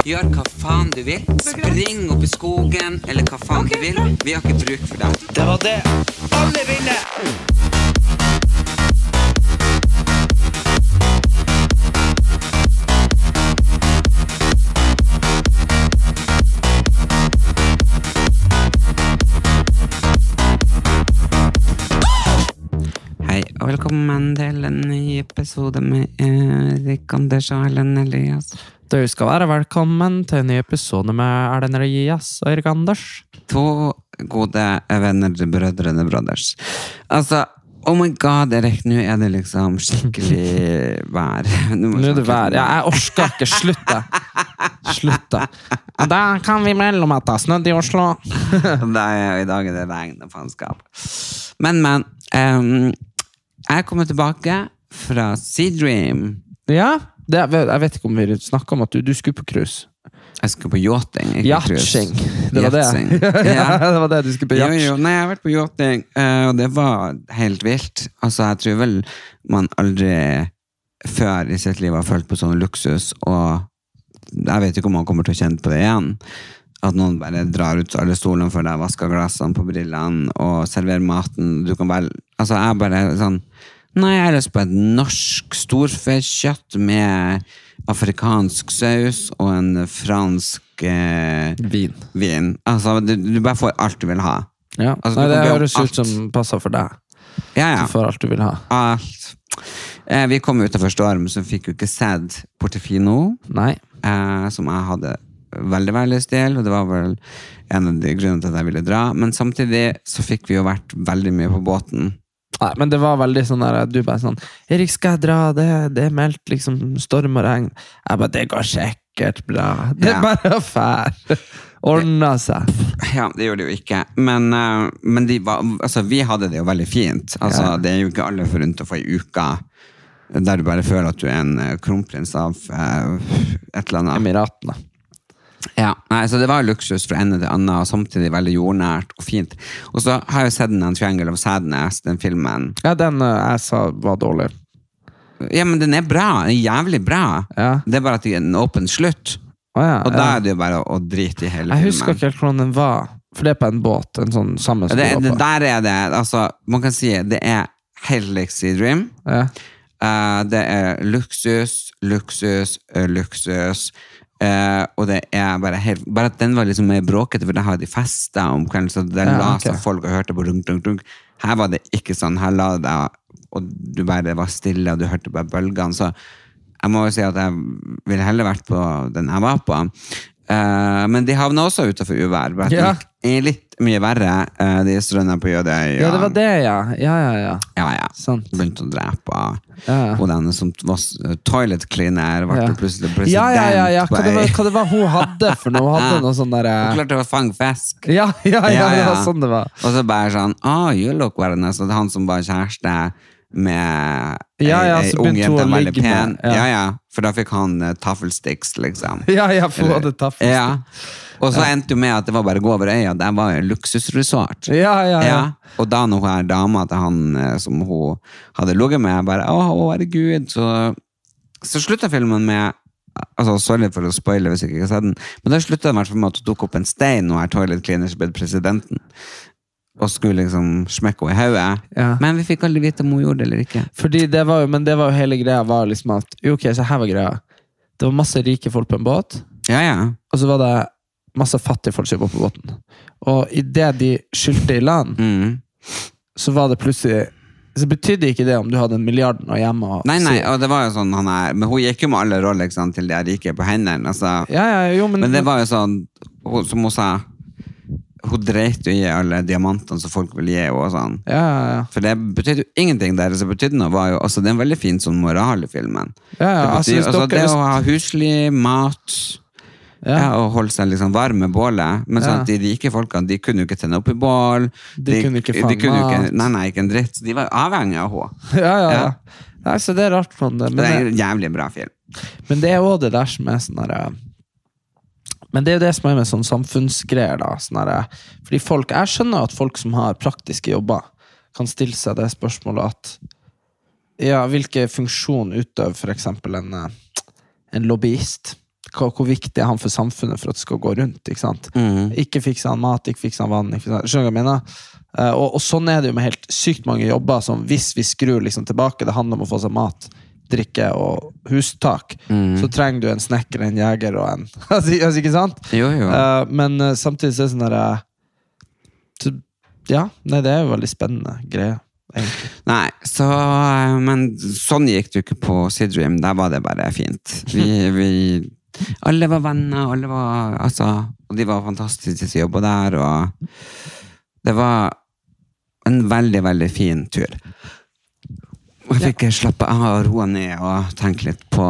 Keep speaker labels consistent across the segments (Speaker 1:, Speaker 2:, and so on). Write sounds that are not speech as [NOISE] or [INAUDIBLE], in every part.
Speaker 1: Gjør hva faen du vil. Spring opp i skogen, eller hva faen du vil. Vi har ikke bruk for deg. Det var det. Alle ville! Hei, og velkommen til en ny episode med Erik Anders og Erlend Elias.
Speaker 2: Du skal være velkommen til en ny episode med Erlend Elias og Erik Anders.
Speaker 1: To gode venner, brødrene brothers. Altså, oh my god, Erik, nå er det liksom skikkelig vær. [LAUGHS] må
Speaker 2: Nå
Speaker 1: vi
Speaker 2: er det
Speaker 1: snakke
Speaker 2: vær.
Speaker 1: litt
Speaker 2: Ja, jeg orsker ikke. Slutt, da. Slutt, da. Ja, Da kan vi melde om at det har snødd i Oslo.
Speaker 1: om det, [LAUGHS] og I dag er det regn og faenskap. Men, men. em, jeg kommer tilbake fra Sea Dream.
Speaker 2: Ja, det, jeg vet ikke om vi snakka om at du, du skulle på cruise.
Speaker 1: Jeg skal på yachting. ikke cruise.
Speaker 2: Yachting. Det var det.
Speaker 1: Yachting.
Speaker 2: [LAUGHS] Ja,
Speaker 1: Ja.
Speaker 2: det var det du skulle på
Speaker 1: Jo,
Speaker 2: yacht.
Speaker 1: jo, nei, jeg har vært på yachting, eh, og det var helt vilt. Altså, jeg tror vel man aldri før i sitt liv har følt på sånn luksus, og jeg vet ikke om man kommer til å kjenne på det igjen. At noen bare drar ut alle stolene for deg, vasker glassene på brillene og serverer maten. Du kan vel Altså, jeg bare sånn Nei, jeg har lyst på et norsk storfekjøtt med afrikansk saus og en fransk eh,
Speaker 2: Vin.
Speaker 1: vin. Altså, du, du bare får alt du vil ha.
Speaker 2: Ja.
Speaker 1: Altså, du
Speaker 2: Nei,
Speaker 1: kan
Speaker 2: det
Speaker 1: be om
Speaker 2: høres
Speaker 1: alt.
Speaker 2: ut som passer for deg.
Speaker 1: Ja,
Speaker 2: Du
Speaker 1: ja.
Speaker 2: får alt du vil ha.
Speaker 1: Alt. Eh, vi kom utafor storm, så fikk jo ikke sett Portefino,
Speaker 2: Nei.
Speaker 1: eh, som jeg hadde veldig veldig lyst til, og det var vel en av de grunnene til at jeg ville dra. Men samtidig så fikk vi jo vært veldig mye på båten.
Speaker 2: Nei, men det var veldig sånn der Du bare sånn 'Erik, skal jeg dra?' Det, det er meldt liksom storm og regn. Jeg bare 'Det går sikkert bra'. Det er
Speaker 1: Ja.
Speaker 2: bare å fære. Ordna seg.
Speaker 1: Ja, det gjorde det jo ikke. Men, eh, men de var, altså, vi hadde det jo veldig fint. Altså,
Speaker 2: Ja.
Speaker 1: Det er jo ikke alle forunt å få ei uke der du bare føler at du er en eh, kronprins av eh, et eller annet.
Speaker 2: Emiratene.
Speaker 1: Ja, nei, så Det var luksus fra ende til annen, og samtidig veldig jordnært og fint. Og så har jeg jo sett den der Triangle of Sadness, den filmen.
Speaker 2: Ja, den eh, jeg sa var dårlig.
Speaker 1: Ja, men den er bra. Den er jævlig bra.
Speaker 2: Ja.
Speaker 1: Det er bare at det er en åpen slutt.
Speaker 2: Å ja,
Speaker 1: Og da
Speaker 2: ja.
Speaker 1: er det jo bare å drite i hele
Speaker 2: Jeg husker
Speaker 1: filmen.
Speaker 2: ikke helt hvordan den var. For det er på en båt. En sånn samme
Speaker 1: Det,
Speaker 2: som du
Speaker 1: det,
Speaker 2: var på.
Speaker 1: der er det Altså, man kan si det er helt like Sea Dream.
Speaker 2: Ja.
Speaker 1: Eh, det er luksus, luksus, eh, luksus. Eh, og det er bare helt Bare at den var liksom mer bråkete, for der hadde de festa om kvelden. Så der
Speaker 2: Ja,
Speaker 1: la
Speaker 2: ok.
Speaker 1: seg folk og hørte på runk, runk, runk. Her var det ikke sånn. Her la det deg, og du bare var stille, og du hørte bare bølgene. Så jeg må jo si at jeg ville heller vært på den jeg var på. Eh, men de havna også utafor uvær. Bare at
Speaker 2: Ja.
Speaker 1: det gikk litt mye verre, eh, de strømene på Jødøy.
Speaker 2: ja,
Speaker 1: og-
Speaker 2: det var det, ja. Ja, ja, ja.
Speaker 1: ja, ja.
Speaker 2: Sant.
Speaker 1: Begynte å drepe
Speaker 2: Ja.
Speaker 1: Hun denne som var s- toilet cleaner, ble
Speaker 2: Ja.
Speaker 1: plutselig president.
Speaker 2: Ja, ja, ja, ja. Hva, det var,
Speaker 1: på ei-
Speaker 2: hva det var hun hadde for noe?
Speaker 1: [LAUGHS]
Speaker 2: Hun hadde noe sånn
Speaker 1: Hun
Speaker 2: derre
Speaker 1: klarte å fange fisk.
Speaker 2: ja, ja, ja, det var
Speaker 1: ja.
Speaker 2: sånn det var.
Speaker 1: Og så bare sånn ah, you look well nice." Og det er han som var kjæreste med
Speaker 2: Ja, ja,
Speaker 1: ei- ei
Speaker 2: så
Speaker 1: ung
Speaker 2: begynte hun
Speaker 1: jente,
Speaker 2: å
Speaker 1: veldig
Speaker 2: ligge
Speaker 1: pen.
Speaker 2: med,
Speaker 1: Ja.
Speaker 2: ja.
Speaker 1: ja, For da fikk han uh, taffelsticks, liksom.
Speaker 2: [LAUGHS] Ja, ja, for hun hadde taffest.
Speaker 1: Ja. Og så endte jo med at det var bare å gå over øya. Der var jo en luksusresort.
Speaker 2: Ja, ja, ja.
Speaker 1: Ja. Og da når hun er dama til han eh, som hun hadde ligget med, jeg bare Å, å, herregud. Så, så slutta filmen med Altså, Sorry for å spoile hvis jeg ikke har sett den, men da slutta den i hvert fall med at hun tok opp en stein og er toilet cleaner som ble presidenten. Og skulle liksom smekke henne i hodet.
Speaker 2: Ja.
Speaker 1: Men vi fikk aldri vite om hun gjorde det eller ikke.
Speaker 2: Fordi det var jo, men det var jo hele greia var liksom at jo, ok, så her var greia. Det var masse rike folk på en båt,
Speaker 1: Ja, ja.
Speaker 2: og så var det masse fattige folk som var på båten. Og idet de skyldte i land,
Speaker 1: Mm.
Speaker 2: så var det plutselig Så betydde ikke det om du hadde en milliard nå hjemme. Og,
Speaker 1: Nei, nei,
Speaker 2: si-
Speaker 1: og det var jo sånn han er Men hun gikk jo med alle roller ikke sant, til de er rike på hendene. Altså,
Speaker 2: ja, ja, jo, men,
Speaker 1: Men det var jo sånn, hun, som hun sa Hun dreit jo i alle diamantene som folk ville gi henne. og Sånn.
Speaker 2: ja, ja, [LAUGHS] ja.
Speaker 1: For det betydde jo ingenting der. Det som betydde noe, var jo altså, Det er en veldig fin sånn moral i filmen.
Speaker 2: Ja, ja,
Speaker 1: det,
Speaker 2: altså,
Speaker 1: betyr,
Speaker 2: hvis
Speaker 1: altså,
Speaker 2: dere-
Speaker 1: det å ha husly, mat Ja. og holdt seg liksom varm med bålet. Men sånn
Speaker 2: Ja.
Speaker 1: at de rike folkene de kunne jo ikke tenne opp i bål.
Speaker 2: De kunne ikke
Speaker 1: de
Speaker 2: fange
Speaker 1: kunne jo
Speaker 2: mat.
Speaker 1: ikke, Nei, nei, ikke en dritt. Så De var avhengig av henne.
Speaker 2: Ja, ja, ja.
Speaker 1: Ja.
Speaker 2: Nei, så det er rart sånn det.
Speaker 1: Det er
Speaker 2: Men,
Speaker 1: en jævlig bra film.
Speaker 2: det, men det er òg det der som er sånn herre Men det er jo det som er med sånn samfunnsgreier, da. Sånn herre Fordi folk Jeg skjønner at folk som har praktiske jobber, kan stille seg det spørsmålet at Ja, hvilken funksjon utøver f.eks. en, eh, en lobbyist? Hva, hvor viktig er han for samfunnet for at det skal gå rundt? Ikke sant? Ikke fikser han mat, ikke fikser han vann. Ikke fikser han, skjønner du hva jeg mener? Eh, og, og sånn er det jo med helt sykt mange jobber. Som hvis vi skrur liksom tilbake, det handler om å få seg mat, drikke og hustak. Så trenger du en snekker, en jeger og en [LAUGHS] altså, altså, Ikke sant?
Speaker 1: Jo, jo.
Speaker 2: Eh, men eh, samtidig så er det sånn derre Ja, nei, det er jo veldig spennende greie. egentlig.
Speaker 1: Nei, så, men sånn gikk det jo ikke på Sidream. Der var det bare fint. Vi, vi, alle var venner, alle var, altså, og de var fantastiske til å jobbe der. Og det var en veldig, veldig fin tur. Og jeg fikk slappe av og roe ned og tenke litt på,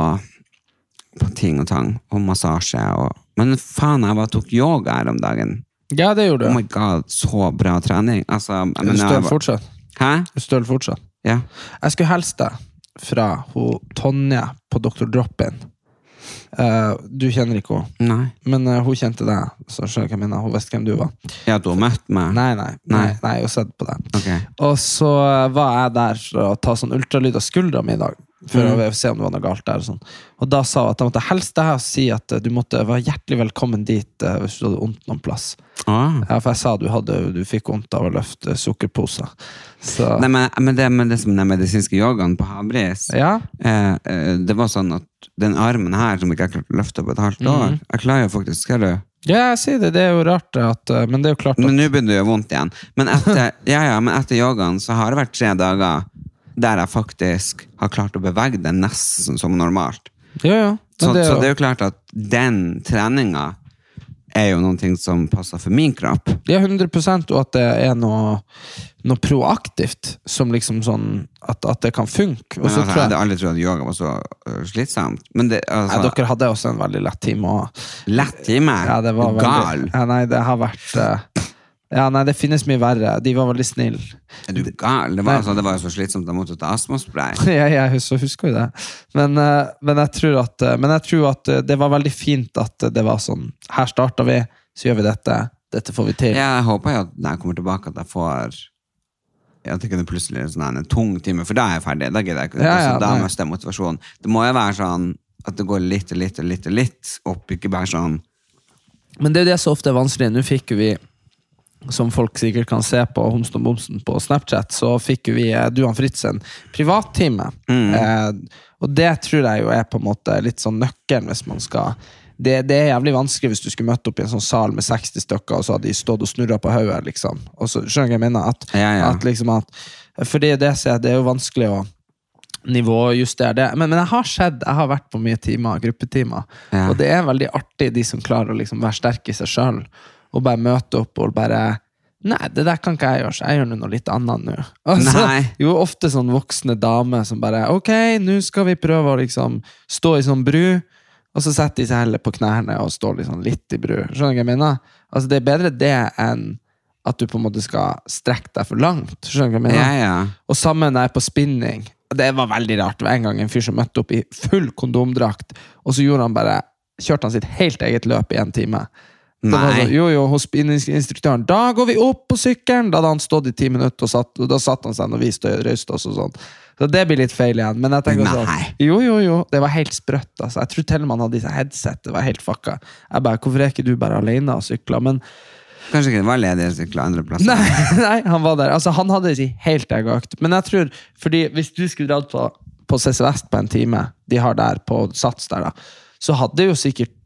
Speaker 1: på ting og tang. Og massasje. Og, men faen, jeg bare tok yoga her om dagen.
Speaker 2: Ja, det gjorde
Speaker 1: Oh
Speaker 2: du.
Speaker 1: my god, så bra trening. Altså, jeg
Speaker 2: Du
Speaker 1: mener, jeg
Speaker 2: støl
Speaker 1: var-
Speaker 2: fortsatt.
Speaker 1: Hæ?
Speaker 2: Du støl fortsatt.
Speaker 1: Ja.
Speaker 2: Jeg skulle hilse deg fra hun Tonje på Dr. Drop-In. Eh, du kjenner ikke henne,
Speaker 1: Nei.
Speaker 2: men eh, hun kjente deg. Så skjønner jeg hva jeg mener. Hun visste hvem du var.
Speaker 1: Ja, du har møtt meg?
Speaker 2: Nei, nei, nei,
Speaker 1: Nei.
Speaker 2: nei, hun sett på deg.
Speaker 1: Ok.
Speaker 2: Og så eh, var jeg der for å ta sånn ultralyd av skuldra mi i dag. For
Speaker 1: Mm.
Speaker 2: å se om det var noe galt der Og, sånn. og da sa hun at jeg måtte hilse deg og si at eh, du måtte være hjertelig velkommen dit eh, hvis du hadde vondt noen plass.
Speaker 1: Ah.
Speaker 2: Ja, For jeg sa du, hadde, du fikk vondt av å løfte sukkerposer. Så
Speaker 1: Nei, men, men det med det som den medisinske yogaen på Havbris
Speaker 2: ja.
Speaker 1: eh, eh, Det var sånn at den armen her som ikke jeg klarte å løfte på et halvt
Speaker 2: Mhm.
Speaker 1: år Jeg klarer jo faktisk, skal du?
Speaker 2: ja, jeg sier det. Det er jo rart, at, eh, men det er jo klart at
Speaker 1: Men nå begynner det å gjøre vondt igjen. Men etter,
Speaker 2: [LAUGHS]
Speaker 1: ja, ja, men etter yogaen så har det vært tre dager der jeg faktisk har klart å bevege det nesten som normalt.
Speaker 2: Ja, ja. Men
Speaker 1: Så
Speaker 2: det
Speaker 1: det,
Speaker 2: er
Speaker 1: så
Speaker 2: jo-
Speaker 1: det er jo klart at den treninga er jo noen ting som passer for min kropp.
Speaker 2: Ja, 100 og at det er noe, noe proaktivt som liksom sånn At, at det kan funke. Og
Speaker 1: Men altså,
Speaker 2: så
Speaker 1: jeg
Speaker 2: tror jeg
Speaker 1: hadde aldri trodd at yoga var så øh, slitsomt. Men det, altså,
Speaker 2: Nei, dere hadde også en veldig lett time. Og,
Speaker 1: Lett i meg.
Speaker 2: ja, det var veldig,
Speaker 1: Gal.
Speaker 2: Ja, nei, det har vært eh, Ja, nei, det finnes mye verre. De var veldig snille. [LAUGHS]
Speaker 1: Er du gal? Det var, altså, det var jo så slitsomt at jeg måtte ta
Speaker 2: [LAUGHS]
Speaker 1: astmaspray.
Speaker 2: Jeg, jeg husker, husker jo det. Men, eh, men, jeg tror at, eh, men jeg tror at eh, det var veldig fint at eh, det var sånn Her starter vi, så gjør vi dette. Dette får vi til.
Speaker 1: Jeg håper jo at når jeg kommer tilbake, at jeg får at det ikke er plutselig en sånn her, en tung time, for da er jeg ferdig. Da gidder jeg ikke.
Speaker 2: Ja, ja,
Speaker 1: så da
Speaker 2: nei.
Speaker 1: mister jeg motivasjonen. Det må jo være sånn at det går litt og litt og litt, og litt opp, ikke bare sånn
Speaker 2: Men det er jo det som ofte er vanskelig. Nå fikk jo vi, som folk sikkert kan se på Homsen og Bomsen på Snapchat, så fikk jo vi eh, Duan Fritz en privattime.
Speaker 1: Mm.
Speaker 2: Eh, og det tror jeg jo er på en måte litt sånn nøkkelen hvis man skal det, det er jævlig vanskelig hvis du skulle møtt opp i en sånn sal med 60 stykker, og så hadde de stått og snurra på hodet. Liksom. Og så skjønner jeg hva jeg mener at,
Speaker 1: Ja, ja.
Speaker 2: at liksom at For det er jo det som er- det er jo vanskelig å nivåjustere det. Men, men jeg har sett, jeg har vært på mye timer, gruppetimer,
Speaker 1: Ja.
Speaker 2: og det er veldig artig de som klarer å liksom være sterke i seg sjøl, og bare møte opp og bare Nei, det der kan ikke jeg gjøre, så jeg gjør nå noe litt annet nå. [LAUGHS] Altså,
Speaker 1: Nei.
Speaker 2: Jo, ofte sånn voksne damer som bare Ok, nå skal vi prøve å liksom stå i sånn bru, og så setter de seg heller på knærne og står liksom litt i bru. Skjønner du hva jeg mener? Altså, det er bedre det enn at du på en måte skal strekke deg for langt. Skjønner du hva jeg mener?
Speaker 1: Ja, ja.
Speaker 2: Og sammen der på spinning. Det var veldig rart. Det var en gang en fyr som møtte opp i full kondomdrakt, og så gjorde han bare, kjørte han sitt helt eget løp i en time. Det var
Speaker 1: Nei.
Speaker 2: sånn, jo, jo, hos spinninginstruktøren. Da går vi opp på sykkelen! Da hadde han stått i ti minutter, og, satt, og da satt han seg når vi stod, røyste oss og sånn. Så det blir litt feil igjen. Men jeg tenker sånn,
Speaker 1: Nei.
Speaker 2: jo, jo, jo. Det var helt sprøtt. altså. Jeg tror til og med han hadde i seg headset. Det var helt fucka. Jeg bare, Hvorfor er ikke du bare alene og sykler? Men
Speaker 1: Kanskje ikke det var ledige sykler andre plasser.
Speaker 2: Nei, [LAUGHS] nei, han var der. Altså, han hadde sin helt egen økt. Men jeg tror, fordi hvis du skulle dratt på, på CC Vest på en time, de har der på Sats der, da, så hadde jo sikkert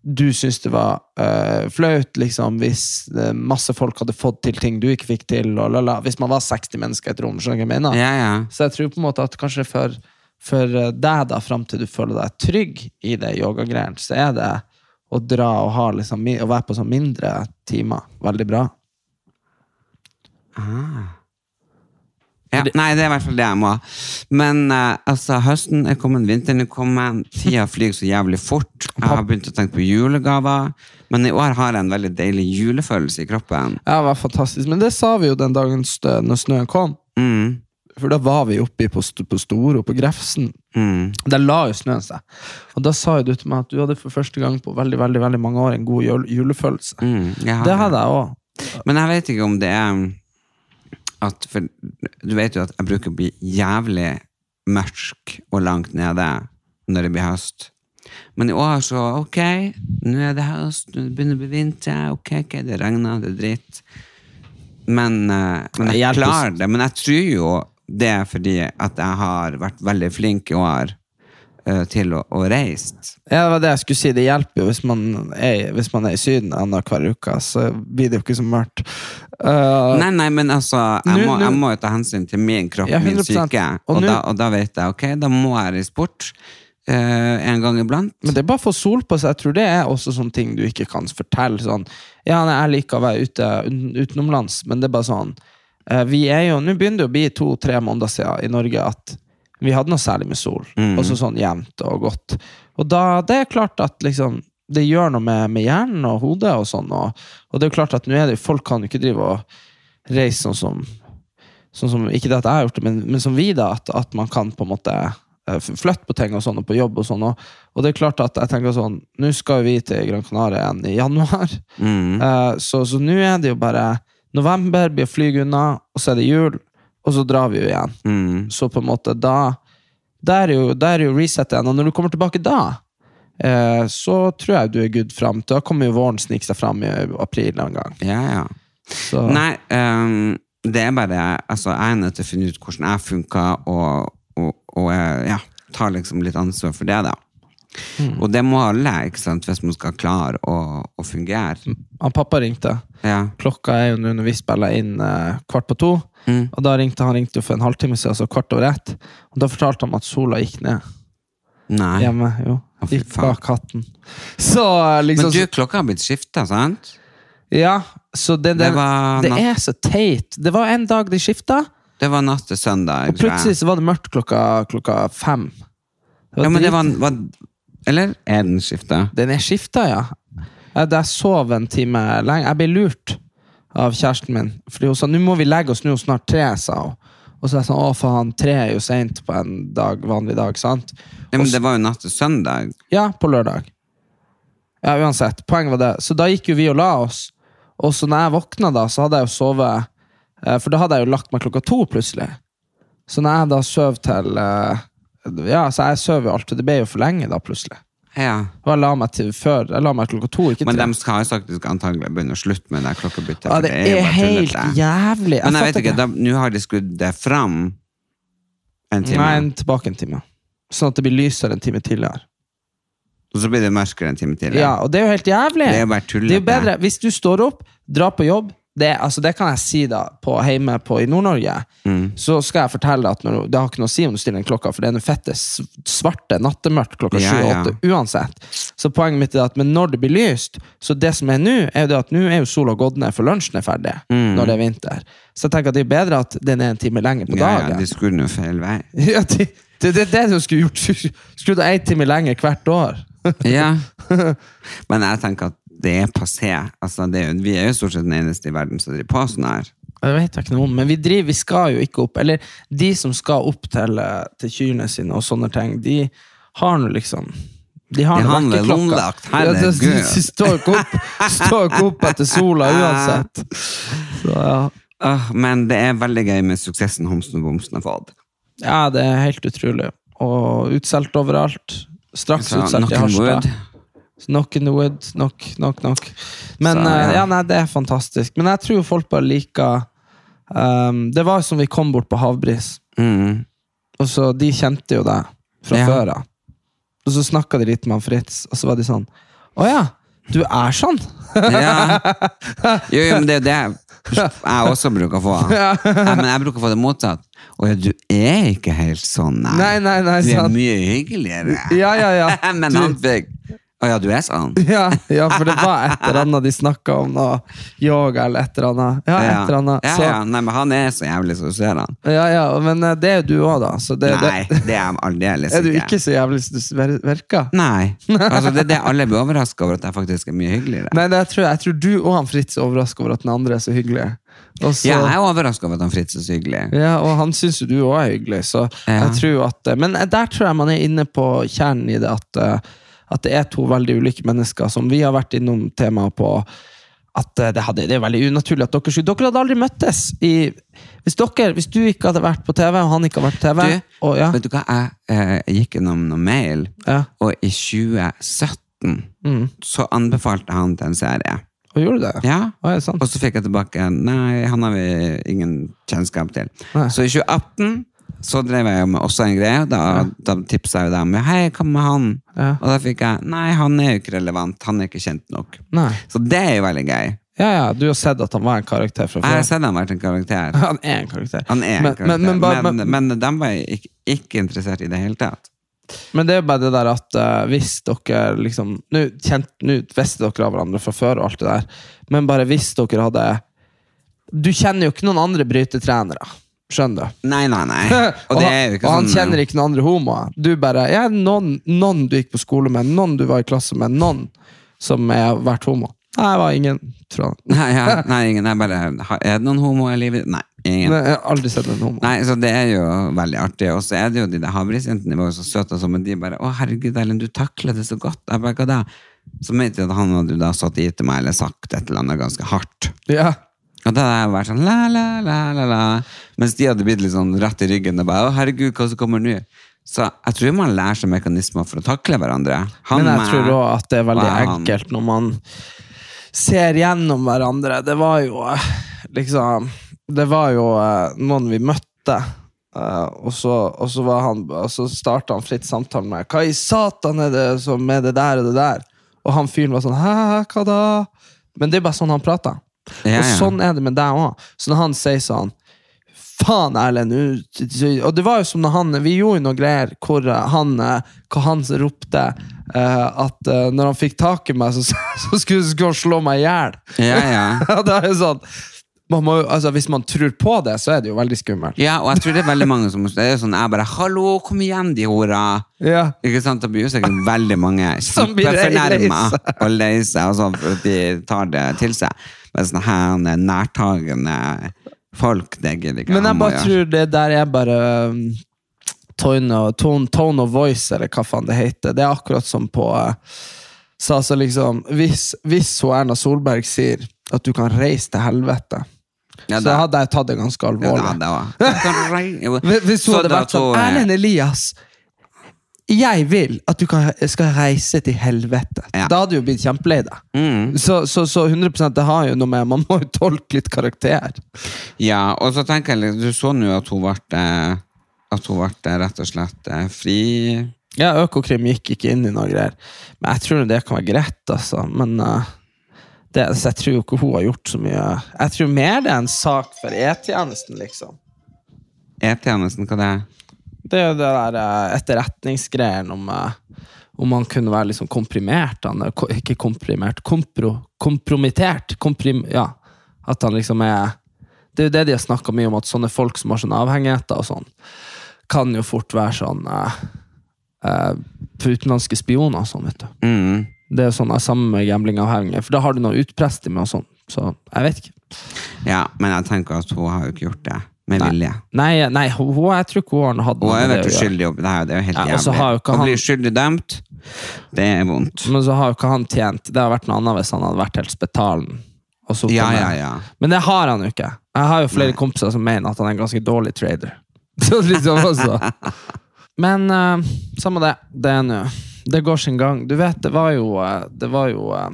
Speaker 2: du syntes det var øh, flaut liksom, hvis øh, masse folk hadde fått til ting du ikke fikk til. Og la, la. Hvis man var 60 mennesker i et rom. skjønner du hva jeg mener?
Speaker 1: Ja, ja.
Speaker 2: Så jeg tror på en måte at kanskje for, for eh, deg, da, fram til du føler deg trygg i det yogagreiene, så er det å dra og ha liksom, mi- å være på sånn mindre timer veldig bra.
Speaker 1: Ja, nei, det er i hvert fall det jeg må. Men eh, altså, høsten er kommet, vinteren er kommet, tida flyr så jævlig fort. Jeg har begynt å tenke på julegaver. Men i år har jeg en veldig deilig julefølelse i kroppen.
Speaker 2: Ja, det var fantastisk. Men det sa vi jo den dagen stø- når snøen kom.
Speaker 1: Mm,
Speaker 2: For da var vi oppe i på, St- på Storo, på Grefsen.
Speaker 1: mm,
Speaker 2: Der la jo snøen seg. Og da sa jo du til meg at du hadde for første gang på veldig veldig, veldig mange år en god jul julefølelse.
Speaker 1: mm, jeg har
Speaker 2: Det hadde jeg òg.
Speaker 1: Men jeg vet ikke om det er at For du vet jo at jeg bruker å bli jævlig mørk og langt nede når det blir høst. Men i år så Ok, nå er det høst, nå begynner det å bli vinter. Ok, ok, det regner, det er dritt. Men, eh, men
Speaker 2: Det
Speaker 1: jeg
Speaker 2: hjelper.
Speaker 1: klarer det. Men jeg tror jo det er fordi at jeg har vært veldig flink i år eh, til å, å reise.
Speaker 2: Ja, det var det jeg skulle si. Det hjelper jo hvis man er, hvis man er i Syden annenhver uke. Så blir det jo ikke så mørkt. Uh,
Speaker 1: Nei, nei, men altså,
Speaker 2: Nå-
Speaker 1: jeg må,
Speaker 2: nå-
Speaker 1: jeg må jo ta hensyn til min kropp,
Speaker 2: Ja,
Speaker 1: min
Speaker 2: 100%.
Speaker 1: syke.
Speaker 2: Og
Speaker 1: Og,
Speaker 2: nå-
Speaker 1: da, og da vet jeg, ok, da må jeg reise bort eh, en gang iblant.
Speaker 2: Men det er bare å få sol på seg. Jeg tror det er også sånne ting du ikke kan fortelle. Sånn, ja, nei, jeg liker å være ute uten- utenomlands, men det er bare sånn eh, Vi er jo, Nå begynner det å bli to-tre måneder siden i Norge at vi hadde noe særlig med sol. Og så sånn jevnt og godt. Og da, det er klart at liksom Det gjør noe med, med hjernen og hodet og sånn. Og, og det er jo klart at nå er det folk kan jo ikke drive og reise sånn som sånn som, ikke det at jeg har gjort det, men, men som vi, da, at, at man kan på en måte eh, f- flytte på ting og sånn, og på jobb og sånn. Og, og det er klart at jeg tenker sånn, nå skal vi til Gran Canaria igjen i januar,
Speaker 1: Mm.
Speaker 2: [LAUGHS] Eh, så så nå er det jo bare november, blir å fly unna, og så er det jul, og så drar vi jo igjen.
Speaker 1: Mm.
Speaker 2: Så på en måte da Da er jo, da er jo reset igjen. Og når du kommer tilbake da, eh, så tror jeg du er good fram. til- Da kommer jo våren snike seg fram i april en gang.
Speaker 1: Ja, ja.
Speaker 2: Så,
Speaker 1: Nei, ehm, det er bare, altså, jeg er nødt til å finne ut hvordan jeg funker, og, og, og eh, ja, ta liksom litt ansvar for det da.
Speaker 2: Mm.
Speaker 1: Og det må alle, ikke sant, hvis man skal klare å, å fungere.
Speaker 2: han pappa ringte.
Speaker 1: Ja.
Speaker 2: Klokka er jo nå når vi spiller inn eh, kvart på to.
Speaker 1: Mm.
Speaker 2: Og da ringte han ringte jo for en halvtime siden, altså kvart over ett. Og da fortalte han at sola gikk ned
Speaker 1: Nei.
Speaker 2: hjemme. jo.
Speaker 1: Å, fy
Speaker 2: Gikk
Speaker 1: faen.
Speaker 2: bak hatten. Så eh,
Speaker 1: Men
Speaker 2: liksom
Speaker 1: du, klokka har blitt skiftet, sant?
Speaker 2: Ja, så det, det,
Speaker 1: Det var
Speaker 2: det
Speaker 1: natt-
Speaker 2: er så teit. Det var en dag de skifta,
Speaker 1: Det var natt til søndag,
Speaker 2: og plutselig så var det mørkt klokka, klokka fem. Det
Speaker 1: Ja, men det
Speaker 2: drit-
Speaker 1: var, var Eller er den skifta?
Speaker 2: Den er skifta, ja. Jeg, jeg sov en time lenge. Jeg ble lurt av kjæresten min. Fordi hun sa nå må vi legge oss, nå er det snart tre. sa hun. Og så er jeg sånn, å faen, tre er jo seint på en dag, vanlig dag. sant?
Speaker 1: Ja, men det var jo natt til søndag.
Speaker 2: Ja, på lørdag. Ja, uansett. Poenget var det. Så da gikk jo vi og la oss. Og så når jeg våkna, da, så hadde jeg jo sovet eh, For da hadde jeg jo lagt meg klokka to, plutselig. Så når jeg da søv til eh, Ja, så jeg søv jo alltid. Det ble jo for lenge, da, plutselig.
Speaker 1: Ja.
Speaker 2: Og jeg la meg til før, jeg la meg klokka to, ikke
Speaker 1: Men
Speaker 2: tre.
Speaker 1: de skal jo faktisk antagelig begynne å slutte med det klokkebyttet.
Speaker 2: Ja,
Speaker 1: for
Speaker 2: det
Speaker 1: jo
Speaker 2: er
Speaker 1: bare
Speaker 2: helt
Speaker 1: tullete.
Speaker 2: jævlig.
Speaker 1: Men jeg vet ikke, da- nå har de skrudd det fram en time,
Speaker 2: Nei, en- tilbake en time. Sånn at det blir lysere en time tidligere.
Speaker 1: og så blir det mørkere en time til.
Speaker 2: Ja, Og det er jo helt jævlig!
Speaker 1: Det er jo bare
Speaker 2: Det er jo
Speaker 1: tullete.
Speaker 2: bedre Hvis du står opp, drar på jobb det, altså det kan jeg si da på, hjemme på, i Nord-Norge.
Speaker 1: Mm.
Speaker 2: Så skal jeg fortelle at når, du- det har ikke noe å si om du stiller en klokka, for det er noe fette s- svarte nattemørkt klokka
Speaker 1: Ja,
Speaker 2: sju og
Speaker 1: ja.
Speaker 2: åtte uansett. Så poenget mitt er at men når det blir lyst Så det som er nå, er jo det at nå er jo sola gått ned, for lunsjen er ferdig
Speaker 1: Mm.
Speaker 2: når det er vinter. Så jeg tenker at det er bedre at den er en time lenger på
Speaker 1: Ja,
Speaker 2: dagen.
Speaker 1: ja, de skrur den jo feil vei.
Speaker 2: [LAUGHS] Ja, det, det, det er det du skulle gjort. Skrudd av én time lenger hvert år.
Speaker 1: Ja. Men jeg tenker at det er passé. Altså, det er jo, vi er jo stort sett den eneste i verden som driver på sånn her.
Speaker 2: Jeg vet ikke noe om, men vi driver, vi skal jo ikke opp. Eller de som skal opp til, eh, til kyrne sine og sånne ting, de har nå liksom De har
Speaker 1: De
Speaker 2: nå
Speaker 1: har nå
Speaker 2: vekkerklokka.
Speaker 1: lommelakt,
Speaker 2: Ja, de, de,
Speaker 1: herregud.
Speaker 2: de [LAUGHS] står ikke opp, står ikke opp etter
Speaker 1: [LAUGHS]
Speaker 2: sola uansett. Så ja.
Speaker 1: Åh, men det er veldig gøy med suksessen Homsen og Bomsen har fått.
Speaker 2: ja, det er helt utrolig. Og utsolgt overalt. Straks
Speaker 1: Så,
Speaker 2: utsolgt
Speaker 1: knock
Speaker 2: i
Speaker 1: on wood.
Speaker 2: Harstad. Knock in the wood. Knock, knock, knock. Men
Speaker 1: Så, ja.
Speaker 2: eh, ja, nei, det er fantastisk. Men jeg tror jo folk bare liker ehm, Det var jo som vi kom bort på Havbris,
Speaker 1: Mm.
Speaker 2: og så de kjente jo deg fra
Speaker 1: Ja.
Speaker 2: før av. Og så snakka de litt med han Fritz, og så var de sånn Å ja, du er sånn? [LAUGHS]
Speaker 1: Ja. Jo, jo, men det er jo det jeg også bruker
Speaker 2: [LAUGHS]
Speaker 1: å få. Ja, men jeg bruker å få det motsatt. Å ja, du er ikke helt sånn, nei.
Speaker 2: Nei, nei, nei,
Speaker 1: du er
Speaker 2: sant.
Speaker 1: mye hyggeligere. [LAUGHS]
Speaker 2: Ja, ja, ja.
Speaker 1: men
Speaker 2: Du-
Speaker 1: han fikk Å ja, du er sånn?
Speaker 2: [LAUGHS] Ja, ja, for det var et eller annet de snakka om, noe yoga eller et eller annet. Ja, et eller annet.
Speaker 1: Ja,
Speaker 2: Så,
Speaker 1: ja. Nei, men han er så jævlig, så du ser han.
Speaker 2: ja, ja, men eh, det er jo du òg, da. Så det,
Speaker 1: Nei,
Speaker 2: det,
Speaker 1: det er han aldeles
Speaker 2: er du ikke så jævlig som du s- ver- virker? [LAUGHS]
Speaker 1: Nei. Altså, det er det alle blir overraska over, at jeg faktisk er mye hyggeligere.
Speaker 2: Nei, det, jeg, tror, jeg tror du og han Fritz er overraska over at den andre er så hyggelig. Og så-
Speaker 1: Ja, jeg er overraska over at han Fritz er så hyggelig.
Speaker 2: Ja, og han syns jo du òg er hyggelig. Så
Speaker 1: Ja.
Speaker 2: jeg tror at, eh, men der tror jeg man er inne på kjernen i det, at, eh, at det er to veldig ulike mennesker som vi har vært innom temaet på. At eh, det, hadde, det er veldig unaturlig at dere skulle Dere hadde aldri møttes i Hvis, dere, hvis du ikke hadde vært på TV, og han ikke hadde vært på TV
Speaker 1: Du,
Speaker 2: og, ja,
Speaker 1: Vet du hva, jeg eh, gikk gjennom noe mail,
Speaker 2: ja, mm,
Speaker 1: og i 2017 så anbefalte han til en serie.
Speaker 2: og gjorde du det?
Speaker 1: Ja,
Speaker 2: Å, er det sant?
Speaker 1: Og så fikk jeg tilbake Nei, han har vi ingen kjennskap til.
Speaker 2: Nei.
Speaker 1: Så i 2018 så drev jeg jo med også en greie. Da, da tipsa jeg jo dem. Hei, hva med han?
Speaker 2: Ja.
Speaker 1: Og da fikk jeg Nei, han er jo ikke relevant. Han er ikke kjent nok.
Speaker 2: Nei.
Speaker 1: Så det er jo veldig gøy.
Speaker 2: Ja, ja, du har sett at han var en karakter fra
Speaker 1: Jeg har
Speaker 2: før?
Speaker 1: sett han vært en karakter.
Speaker 2: Han er en karakter.
Speaker 1: Han er en
Speaker 2: men,
Speaker 1: karakter.
Speaker 2: men, men, bare- men,
Speaker 1: men, men de var jeg ikke, ikke interessert i det hele tatt.
Speaker 2: Men det er jo bare det der at eh, hvis dere liksom Nå kjent- nå visste dere av hverandre fra før, og alt det der, men bare hvis dere hadde Du kjenner jo ikke noen andre brytetrenere.
Speaker 1: [LAUGHS]
Speaker 2: Skjønner du?
Speaker 1: Nei, nei,
Speaker 2: [LAUGHS]
Speaker 1: nei. Og, det er jo ikke
Speaker 2: og han
Speaker 1: sånn
Speaker 2: kjenner ikke noen andre homoer. Du bare ja, noen, noen du gikk på skole med, noen du var i klasse med, noen som har vært homo. Nei, det var ingen, tror jeg.
Speaker 1: Nei, ja, nei ingen, jeg bare, har- er det noen homo i livet? Nei, ingen.
Speaker 2: Nei, Jeg har aldri sett en homo.
Speaker 1: Nei, så det er jo veldig artig. Og så er det jo de der havrisjentene var jo så søte, og sånn, men de bare 'Å, herregud, Erlend, du takler det så godt.' Jeg bare, hva da? Så mente jeg at han hadde jo da satt i til meg eller sagt et eller annet ganske hardt.
Speaker 2: Ja.
Speaker 1: Og da hadde jeg vært sånn la, la, la, la, la. Mens de hadde blitt litt sånn rett i ryggen og bare 'Å, herregud, hva som kommer nå?' Så jeg tror man lærer seg mekanismer for å takle hverandre. Han
Speaker 2: Men jeg
Speaker 1: med-
Speaker 2: tror òg at det er veldig
Speaker 1: og jeg, han.
Speaker 2: enkelt når man ser gjennom hverandre. Det var jo eh, liksom Det var jo eh, noen vi møtte, eh, og så, og så, var han- og så starta han fritt samtalen med Hva i satan er det som er det der og det der? Og han fyren var sånn Hæ, hva da? Men det er bare sånn han prater.
Speaker 1: Ja,
Speaker 2: Og
Speaker 1: ja.
Speaker 2: sånn er det med deg òg. Så når han sier sånn Faen, Erlend! du- Og det var jo som når han Vi gjorde jo noe greier hvor eh, han, eh, hvor han ropte eh, at eh, når han fikk tak i meg, så, [LAUGHS] så skulle så skulle han slå meg i hjel. [LAUGHS]
Speaker 1: Ja, ja.
Speaker 2: det er jo sånn man må, jo- altså, Hvis man tror på det, så er det jo veldig skummelt.
Speaker 1: Ja, og jeg tror det er veldig mange som Det er jo sånn, jeg bare 'Hallo, kom igjen, de hora'.
Speaker 2: Ja.
Speaker 1: Ikke sant? Da blir jo sikkert veldig mange
Speaker 2: [LAUGHS] Som blir
Speaker 1: kjempefornærma
Speaker 2: lei seg.
Speaker 1: og lei seg, og sånn, for at de tar det til seg. Men sånn her han er nærtagende folk, det gidder ikke
Speaker 2: Men
Speaker 1: han å
Speaker 2: jeg bare
Speaker 1: gjøre.
Speaker 2: tror det der er bare um, tone, og- tone, tone of voice, eller hva faen det heter. Det er akkurat som på eh, Så altså liksom Hvis, hvis hun Erna Solberg sier at du kan reise til helvete,
Speaker 1: Ja,
Speaker 2: så
Speaker 1: da-
Speaker 2: hadde jeg tatt det ganske
Speaker 1: Ja,
Speaker 2: alvorlig.
Speaker 1: da,
Speaker 2: [LAUGHS]
Speaker 1: da.
Speaker 2: Hvis- Hvis hun
Speaker 1: Så
Speaker 2: hadde
Speaker 1: da
Speaker 2: vært sånn
Speaker 1: tror jeg-
Speaker 2: Erlend Elias, jeg vil at du kan, skal reise til helvete.
Speaker 1: Ja. Mm.
Speaker 2: Da hadde du jo blitt kjempelei deg. Så, så, så 100 det har jo noe med Man må jo tolke litt karakter.
Speaker 1: Ja, og så tenker jeg litt- Du så nå at hun ble eh, At hun ble rett og slett eh, fri
Speaker 2: Ja, Økokrim gikk ikke inn i noe greier. Men jeg tror det kan være greit, altså. Men eh, det, så jeg tror jo ikke hun har gjort så mye. Jeg tror mer det er en sak for E-tjenesten, liksom.
Speaker 1: E-tjenesten, hva det er?
Speaker 2: Det er jo det der eh, etterretningsgreien om eh, om man kunne være liksom komprimert. Han er ko- ikke komprimert, kompro, kompromittert. Komprim, ja. At han liksom er Det er jo det de har snakka mye om, at sånne folk som har sånne avhengigheter og sånn, kan jo fort være sånn eh, eh, for utenlandske spioner og sånn, vet du.
Speaker 1: Mm.
Speaker 2: Det er jo sånn eh, samme med gamblingavhengige, for da har du noe utprest i med og sånn. Så jeg vet ikke.
Speaker 1: Ja, men jeg tenker at hun har jo ikke gjort det med vilje.
Speaker 2: Nei, nei hun, hun- jeg tror ikke hun har hatt
Speaker 1: Hun har jo
Speaker 2: med
Speaker 1: vært
Speaker 2: å gjøre.
Speaker 1: uskyldig oppi det her, det er jo Mm. helt
Speaker 2: Ja, og så har jo
Speaker 1: jævlig.
Speaker 2: ikke
Speaker 1: Å
Speaker 2: han-
Speaker 1: bli uskyldig dømt, det er vondt.
Speaker 2: Men så har jo ikke han tjent Det hadde vært noe annet hvis han hadde vært helt spetalen. og sittet
Speaker 1: Ja,
Speaker 2: med.
Speaker 1: ja, ja.
Speaker 2: Men det har han jo ikke. Jeg har jo flere kompiser som mener at han er en ganske dårlig trader. [LAUGHS] Så liksom også. Men eh, samme det. Det er nå Det går sin gang. Du vet, det var jo eh, Det var jo eh,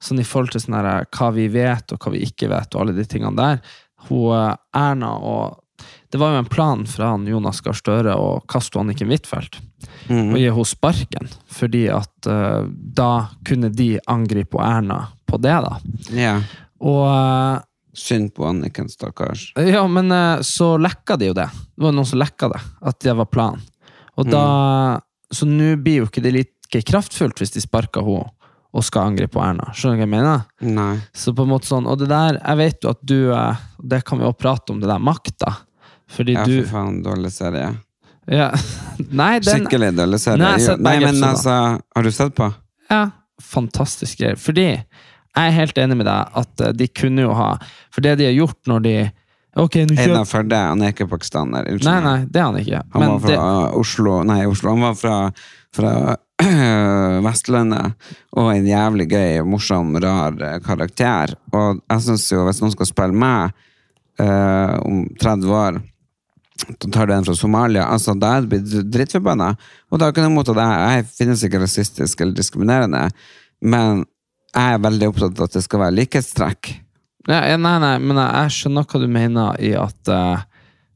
Speaker 2: sånn i forhold til sånn her, eh, hva vi vet og hva vi ikke vet, og alle de tingene der. Hun, eh, Erna og Det var jo en plan fra han Jonas Gahr Støre å kaste hun Anniken Huitfeldt
Speaker 1: Mhm.
Speaker 2: og gi henne sparken, fordi at eh, da kunne de angripe hun Erna på det, da.
Speaker 1: ja.
Speaker 2: Og eh,
Speaker 1: Synd på Anniken, stakkars.
Speaker 2: ja, men eh, så lekka de jo
Speaker 1: Mm.
Speaker 2: det. Det var noen som lekka det, at det var planen. Og da Så nå blir jo ikke det litt virker kraftfullt hvis de sparker henne og skal angripe Erna. Skjønner du hva jeg mener?
Speaker 1: Nei.
Speaker 2: Så på en måte sånn, Og det der, jeg vet jo at du eh, Det kan vi også prate om, det der makta. Fordi
Speaker 1: Ja,
Speaker 2: du
Speaker 1: for faen, dårlig serie.
Speaker 2: ja. [LAUGHS] Nei, den
Speaker 1: Skikkelig dårlig serie.
Speaker 2: Nei, jeg har
Speaker 1: Jo,
Speaker 2: sett
Speaker 1: Nei,
Speaker 2: begge
Speaker 1: men
Speaker 2: episoder.
Speaker 1: altså, har du sett på?
Speaker 2: Ja, fantastisk greier. Fordi jeg er helt enig med deg at eh, de kunne jo ha For det de har gjort når de Ok, nå
Speaker 1: En
Speaker 2: kjøper
Speaker 1: av Førde, han er ikke pakistaner. Unnskyld.
Speaker 2: Nei, nei, det er han ikke.
Speaker 1: Han
Speaker 2: Men
Speaker 1: var fra
Speaker 2: det,
Speaker 1: Oslo Nei, Oslo. Han var fra, fra [CLEARS THROAT] Vestlandet. Og en jævlig gøy, morsom, rar eh, karakter. Og jeg syns jo, hvis noen skal spille meg eh, om 30 år da tar du en fra Somalia. Altså, Da er jeg blitt drittforbanna. Og det har ikke noe imot at jeg, jeg finnes ikke rasistisk eller diskriminerende, men jeg er veldig opptatt av at det skal være likhetstrekk.
Speaker 2: nei, nei, nei, men jeg, jeg skjønner hva du mener i at eh,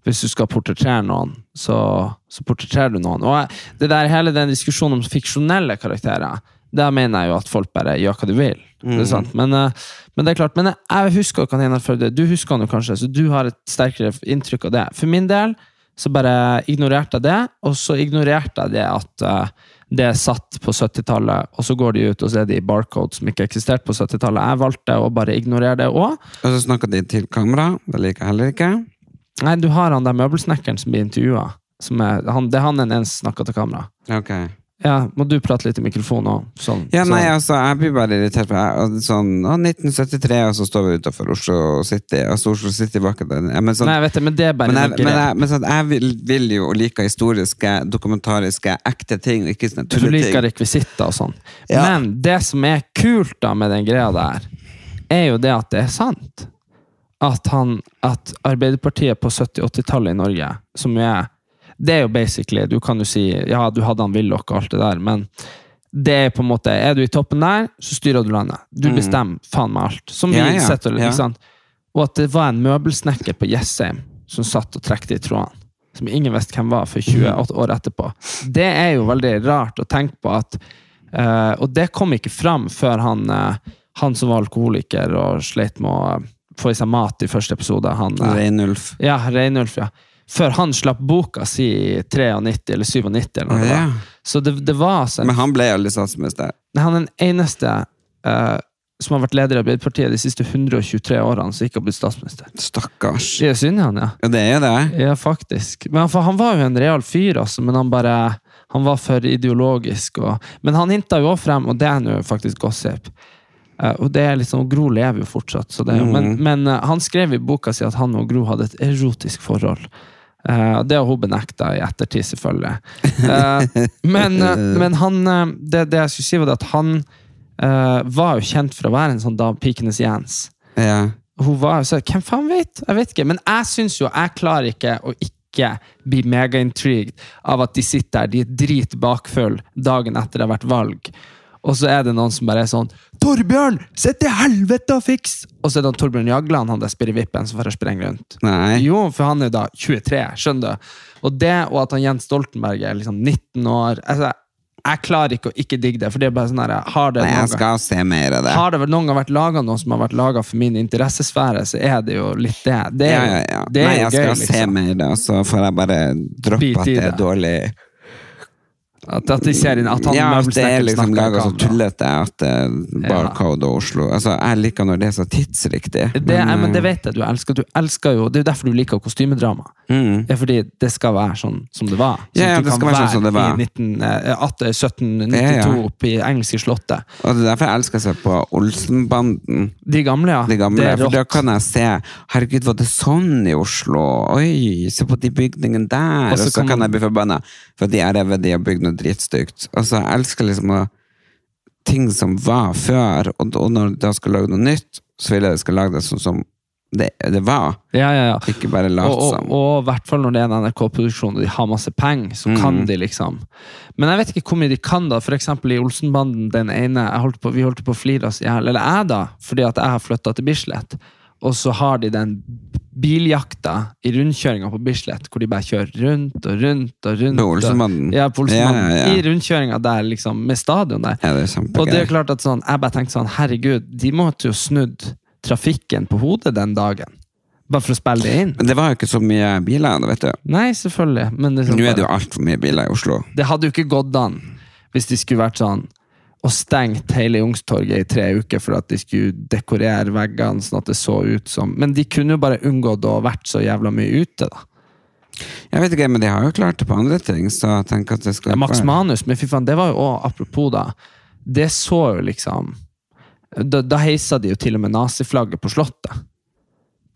Speaker 2: hvis du skal portrettere noen, så, så portretterer du noen. Og jeg, det der hele den diskusjonen om fiksjonelle karakterer, der mener jeg jo at folk bare gjør hva de vil. Det er sant? Men, eh, men det er klart, men jeg, jeg husker ikke han Einar Førde, du husker han jo kanskje, så du har et sterkere inntrykk av det. For min del så bare ignorerte jeg det, og så ignorerte jeg det at eh, det er satt på 70-tallet, og så går de ut og så er de i barcode som ikke eksisterte på 70-tallet. Jeg valgte å bare ignorere det òg.
Speaker 1: Og så snakker de til kamera. Det liker jeg heller ikke.
Speaker 2: Nei, du har han der møbelsnekkeren som blir intervjua. Som er, han, det er han en eneste snakker til kamera.
Speaker 1: Ok.
Speaker 2: Ja, må du prate litt i mikrofonen òg? Sånn.
Speaker 1: Ja, nei,
Speaker 2: sånn.
Speaker 1: altså, jeg blir bare irritert på jeg- og sånn, å, 1973, og så står vi utenfor Oslo City. Altså, Oslo City var ikke den. Ja, men sånn,
Speaker 2: nei, jeg vet det, men det er bare
Speaker 1: men
Speaker 2: men
Speaker 1: jeg, men jeg, men sånn, jeg vil, vil jo like historiske, dokumentariske, ekte ting, og ikke sånne
Speaker 2: Du
Speaker 1: tulleting.
Speaker 2: liker rekvisitter og sånn.
Speaker 1: Ja.
Speaker 2: Men det som er kult da med den greia der, er jo det at det er sant. At, han, at Arbeiderpartiet på 70-80-tallet i Norge, som jo er Det er jo basically Du kan jo si ja, du hadde han Willoch og alt det der, men det er på en måte Er du i toppen der, så styrer du landet. Du bestemmer faen meg alt. Som vi
Speaker 1: Mm. Ja, ja,
Speaker 2: setter,
Speaker 1: ja.
Speaker 2: ikke sant? Og at det var en møbelsnekker på Jessheim som satt og trekte i trådene. Som ingen visste hvem var for 28 år etterpå. Det er jo veldig rart å tenke på at eh, Og det kom ikke fram før han, eh, han som var alkoholiker og slet med å eh, få i seg mat i første episode. Han, eh,
Speaker 1: Reinulf.
Speaker 2: ja, Reinulf, ja. Før han slapp boka si i 93 eller 97.
Speaker 1: Å,
Speaker 2: Eller noe det
Speaker 1: ja.
Speaker 2: var. Så det, det var altså en
Speaker 1: Men han ble jo aldri statsminister.
Speaker 2: Nei, han er den eneste eh, som har vært leder i Arbeiderpartiet de siste 123 årene, som ikke har blitt statsminister.
Speaker 1: Stakkars.
Speaker 2: Det er synd i han, ja.
Speaker 1: Ja, det er jo det.
Speaker 2: Ja, faktisk. Men han, for han var jo en real fyr, altså, men han bare han var for ideologisk. Og, men han hinta jo også frem, og det er nå faktisk gossip. Eh, og det er liksom, Gro lever jo fortsatt, så det, er jo- men, men eh, han skrev i boka si at han og Gro hadde et erotisk forhold. Eh, og det har hun benekta i ettertid, selvfølgelig. Eh, men eh, men han, eh, det, det jeg skulle si, var det at han eh, var jo kjent for å være en sånn da Pikenes Jens
Speaker 1: Ja.
Speaker 2: hun var så, Hvem faen vet? Jeg vet ikke. Men jeg syns jo jeg klarer ikke å ikke bli megaintrigued av at de sitter der, de er drit bakfull dagen etter det har vært valg. Og så er det noen som bare er sånn 'Torbjørn, se til helvete og fiks!' Og så er det han Torbjørn Jagland, han der spirrevippen, som får sprenge rundt.
Speaker 1: Nei.
Speaker 2: Jo, for han er jo da 23, skjønner du. Og det, og at han Jens Stoltenberg er liksom 19 år altså, Jeg klarer ikke å ikke digge det, for det er bare sånn her Har det
Speaker 1: Nei,
Speaker 2: noen
Speaker 1: jeg
Speaker 2: gang-
Speaker 1: skal se mer av det.
Speaker 2: har det vel noen gang vært laga noe som har vært laga for min interessesfære, så er det jo litt det. Det er,
Speaker 1: Ja,
Speaker 2: jo-
Speaker 1: ja, ja.
Speaker 2: Det er
Speaker 1: Nei,
Speaker 2: jo
Speaker 1: jeg
Speaker 2: gøy,
Speaker 1: skal se
Speaker 2: liksom.
Speaker 1: mer, og så får jeg bare droppe
Speaker 2: Bit
Speaker 1: at
Speaker 2: i
Speaker 1: det er
Speaker 2: det.
Speaker 1: dårlig.
Speaker 2: At, at de ser inn at han
Speaker 1: ja, at det er
Speaker 2: møbelsnekkeren
Speaker 1: liksom
Speaker 2: snakker i
Speaker 1: laga så
Speaker 2: kamera.
Speaker 1: tullete at eh, Barcode og Oslo Altså, Jeg liker når det er så tidsriktig.
Speaker 2: Det, er, men det
Speaker 1: eh,
Speaker 2: vet jeg du elsker. Du elsker jo, det er jo derfor du liker kostymedrama.
Speaker 1: mm.
Speaker 2: Det er fordi det skal være sånn som det var. Sånn
Speaker 1: Ja, ja,
Speaker 2: at du
Speaker 1: det
Speaker 2: kan
Speaker 1: skal være sånn som det var.
Speaker 2: i 19, eh, 18, 1792
Speaker 1: Ja, ja.
Speaker 2: oppe i engelske slottet.
Speaker 1: Og det er derfor jeg elsker å se på Olsenbanden.
Speaker 2: De gamle, ja.
Speaker 1: De gamle,
Speaker 2: Ah, det er
Speaker 1: for da
Speaker 2: rått.
Speaker 1: kan jeg se Herregud, var det sånn i Oslo? Oi, se på de bygningene der!
Speaker 2: Og
Speaker 1: Og
Speaker 2: så
Speaker 1: så kan,
Speaker 2: kan man-
Speaker 1: jeg bli forbanna, for de er revet, de har bygd noe dritstygt. Altså, jeg elsker liksom å ting som var før, og, og når de skal lage noe nytt, så vil jeg de skal lage det sånn som det, det var.
Speaker 2: Ja, ja, ja.
Speaker 1: Ikke bare late
Speaker 2: Og, og,
Speaker 1: som.
Speaker 2: og i hvert fall når det er en NRK-produksjon og de har masse penger, så
Speaker 1: Mm.
Speaker 2: kan de liksom Men jeg vet ikke hvor mye de kan, da. For eksempel i Olsenbanden, den ene jeg holdt på, Vi holdt på å flire oss i hjel, eller jeg, da, fordi at jeg har flytta til Bislett. Og så har de den biljakta i rundkjøringa på Bislett, hvor de bare kjører rundt og rundt og rundt.
Speaker 1: På
Speaker 2: og-
Speaker 1: Olsenbanden.
Speaker 2: Ja, på Olsenbanden.
Speaker 1: Ja, ja, ja.
Speaker 2: I rundkjøringa der, liksom, med stadion der.
Speaker 1: Ja, det er
Speaker 2: Og det
Speaker 1: kjempegøy.
Speaker 2: er klart at sånn, jeg bare tenkte sånn, herregud, de måtte jo snudd trafikken på hodet den dagen. Bare for å spille det inn.
Speaker 1: Men det var jo ikke så mye biler, vet du.
Speaker 2: Nei, selvfølgelig. Men liksom det,
Speaker 1: Nå er det jo altfor mye biler i Oslo.
Speaker 2: det hadde jo ikke gått an. hvis de skulle vært sånn og stengt hele Youngstorget i tre uker for at de skulle dekorere veggene sånn at det så ut som Men de kunne jo bare unngått å ha vært så jævla mye ute, da.
Speaker 1: Jeg vet ikke, men de har jo klart det på andre ting, så jeg tenker at det skal
Speaker 2: Ja, Max
Speaker 1: være-
Speaker 2: Manus, men fy faen, det var jo òg Apropos, da. Det så jo liksom Da, da heisa de jo til og med naziflagget på Slottet.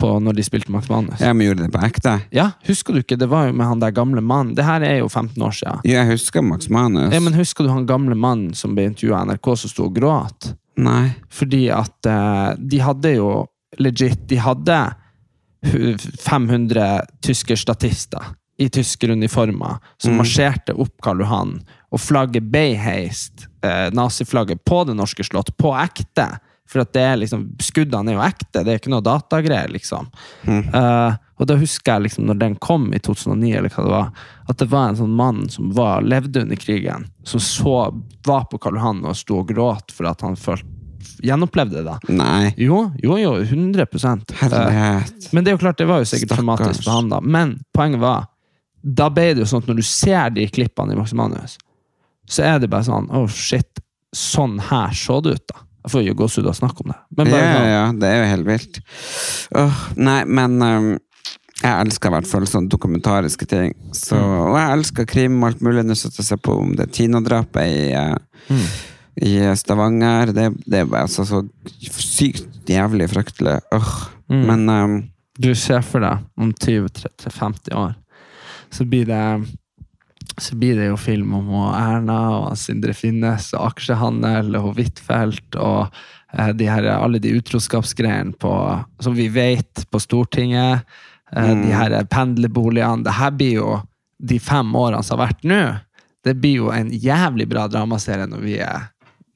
Speaker 2: På når de spilte Max Manus. Ja.
Speaker 1: Ja, men gjorde de det på ekte?
Speaker 2: husker du ikke? Det var jo med han der gamle mannen. Det her er jo 15 år siden.
Speaker 1: Jo, jeg husker Max Manus.
Speaker 2: Ja, men husker du han gamle mannen som ble intervjua av NRK, som sto og gråt?
Speaker 1: Nei.
Speaker 2: Fordi at eh, de hadde jo legit De hadde hu- 500 tyskerstatister i tyskeruniformer som marsjerte opp Karl Johan, og flagget ble heist, eh, naziflagget, på det norske slott, på ekte. For at det er liksom, skuddene er jo ekte, det er ikke noe datagreier, liksom. Eh, og da husker jeg liksom, når den kom i 2009, eller hva det var, at det var en sånn mann som var, levde under krigen, som så, var på Karl Johan og sto og gråt for at han følte gjenopplevde det. da.
Speaker 1: Nei.
Speaker 2: Jo, jo, jo, 100 Eh,
Speaker 1: Herlighet.
Speaker 2: Men det er jo klart, det var jo sikkert
Speaker 1: Stakkars.
Speaker 2: traumatisk for han, da. Men poenget var, da ble det jo sånn at når du ser de klippene i Max Manus, så er det bare sånn Oh, shit. Sånn her så det ut, da. Jeg får jo gåsehud av å snakke om det. Men
Speaker 1: Ja,
Speaker 2: bare
Speaker 1: ja,
Speaker 2: sånn,
Speaker 1: ja, det er jo helt vilt. Åh, nei, men ehm, jeg elsker i hvert fall sånne dokumentariske ting. Så,
Speaker 2: Mm.
Speaker 1: og jeg elsker krim og alt mulig. Nå satt jeg og så på om det Tina-drapet i, eh,
Speaker 2: Mm.
Speaker 1: i eh, Stavanger. Det, det er bare altså så sykt jævlig fryktelig. Åh,
Speaker 2: Mm.
Speaker 1: Men ehm,
Speaker 2: du ser for deg om 20-50 år, så blir det så blir det jo film om hun Erna og Sindre Finnes og aksjehandel og Huitfeldt og eh, de her, alle de utroskapsgreiene på, som vi vet på Stortinget. Eh, De her pendlerboligene. Det her blir jo de fem årene som har vært nå. Det blir jo en jævlig bra dramaserie når vi er,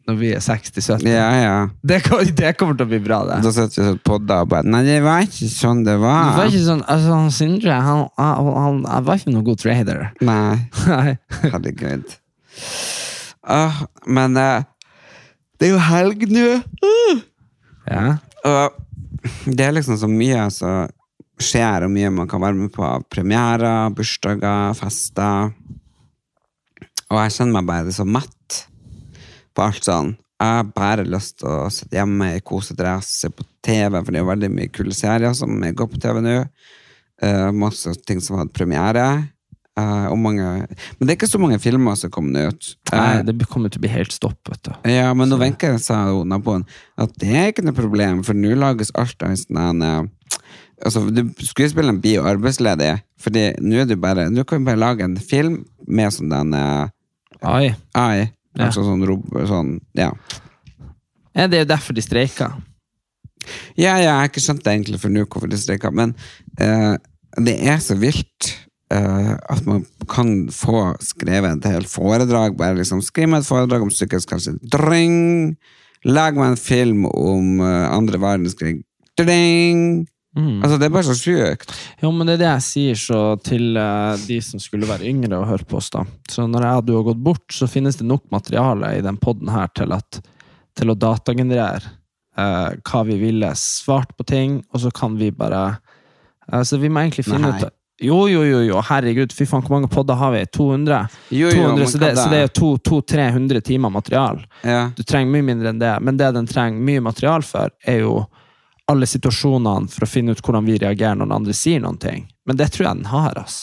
Speaker 2: når vi er 60-70.
Speaker 1: ja, ja.
Speaker 2: Det, kom- det kommer til å bli bra, det.
Speaker 1: Da satt vi og podda og bare Nei, det var ikke sånn det
Speaker 2: Det var
Speaker 1: var.
Speaker 2: ikke sånn, altså han Sindre han, han, han, han var ikke noen god trader.
Speaker 1: Nei.
Speaker 2: [LAUGHS] Nei.
Speaker 1: Herregud. Åh, men eh, det er jo helg nå.
Speaker 2: Ja.
Speaker 1: Og det er liksom så mye som skjer, og mye man kan være med på av premierer, bursdager, fester. Og jeg kjenner meg bare så mett på alt sånn. Jeg har bare lyst til å sitte hjemme i kosedress, se på TV, for det er jo veldig mye kule serier som går på TV nå. Eh, masse ting som hadde premiere. Eh, og mange Men det er ikke så mange filmer som kommer ut.
Speaker 2: Nei,
Speaker 1: Eh,
Speaker 2: det kommer til å bli helt stopp, vet du.
Speaker 1: ja, men nå Wenche sa jo naboen at det er ikke noe problem, for nå lages alt av en sånn eh, Altså, du- skuespilleren blir jo arbeidsledig, fordi nå er du bare Nå kan du bare lage en film med sånn den eh,
Speaker 2: Oi.
Speaker 1: AI.
Speaker 2: Ja.
Speaker 1: Altså sånn, rob- sånn ja.
Speaker 2: Ja, det er jo derfor de streiker.
Speaker 1: ja, ja, jeg har ikke skjønt det egentlig for nå, hvorfor de streiker, men eh, det er så vilt eh, at man kan få skrevet et helt foredrag. Bare liksom skriv meg et foredrag om psykisk helse. Dring! Lag meg en film om eh, andre verdenskrig. Dring!
Speaker 2: Mm.
Speaker 1: Altså, det er bare så sjukt.
Speaker 2: Jo, men det er det jeg sier så til eh, de som skulle være yngre og høre på oss, da. Så når jeg og du har gått bort, så finnes det nok materiale i den podden her til, at, til å datagenerere eh, hva vi ville svart på ting, og så kan vi bare eh, Så vi må egentlig finne
Speaker 1: Nei.
Speaker 2: ut Jo, jo, jo, jo, herregud, fy faen, hvor mange podder har vi? 200?
Speaker 1: Jo, jo,
Speaker 2: 200
Speaker 1: men
Speaker 2: så,
Speaker 1: hva
Speaker 2: det,
Speaker 1: da?
Speaker 2: så det er jo 200-300 timer materiale.
Speaker 1: Ja.
Speaker 2: Du trenger mye mindre enn det, men det den trenger mye material for, er jo alle situasjonene for å finne ut hvordan vi reagerer når den andre sier noen ting. Men det tror jeg den har. ass.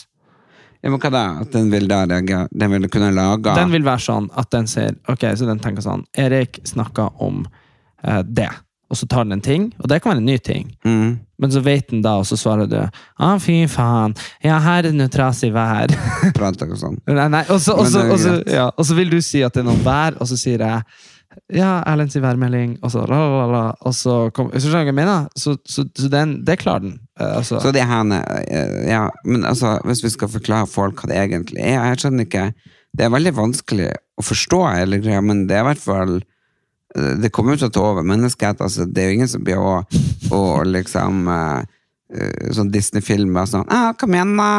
Speaker 1: ja, men hva da? At den vil da reagere? Den vil kunne lage
Speaker 2: Den vil være sånn at den sier Ok, så den tenker sånn Erik snakka om eh, det, og så tar den en ting, og det kan være en ny ting.
Speaker 1: mm.
Speaker 2: Men så vet den da, og så svarer du Å, ah, fy faen. Ja, her er det noe trasig vær. [LAUGHS]
Speaker 1: Prate og sånn.
Speaker 2: Nei, nei, og så, og,
Speaker 1: Men
Speaker 2: så,
Speaker 1: det er jo
Speaker 2: og, så,
Speaker 1: greit.
Speaker 2: ja, og så vil du si at det er noe vær, og så sier jeg ja, Erlend sin værmelding, og så la, la, la, la, og så kom, Hvis du skjønner hva jeg mener? Så, så, så den, det klarer den. Eh, altså.
Speaker 1: Så det her eh, Ja, men altså, hvis vi skal forklare folk hva det egentlig er Jeg skjønner ikke Det er veldig vanskelig å forstå hele greia, men det er i hvert fall eh, Det kommer jo til å ta over menneskehet. Altså, det er jo ingen som blir å, å liksom eh, eh, Sånn Disney-filmer sånn ah, 'Kom igjen, da!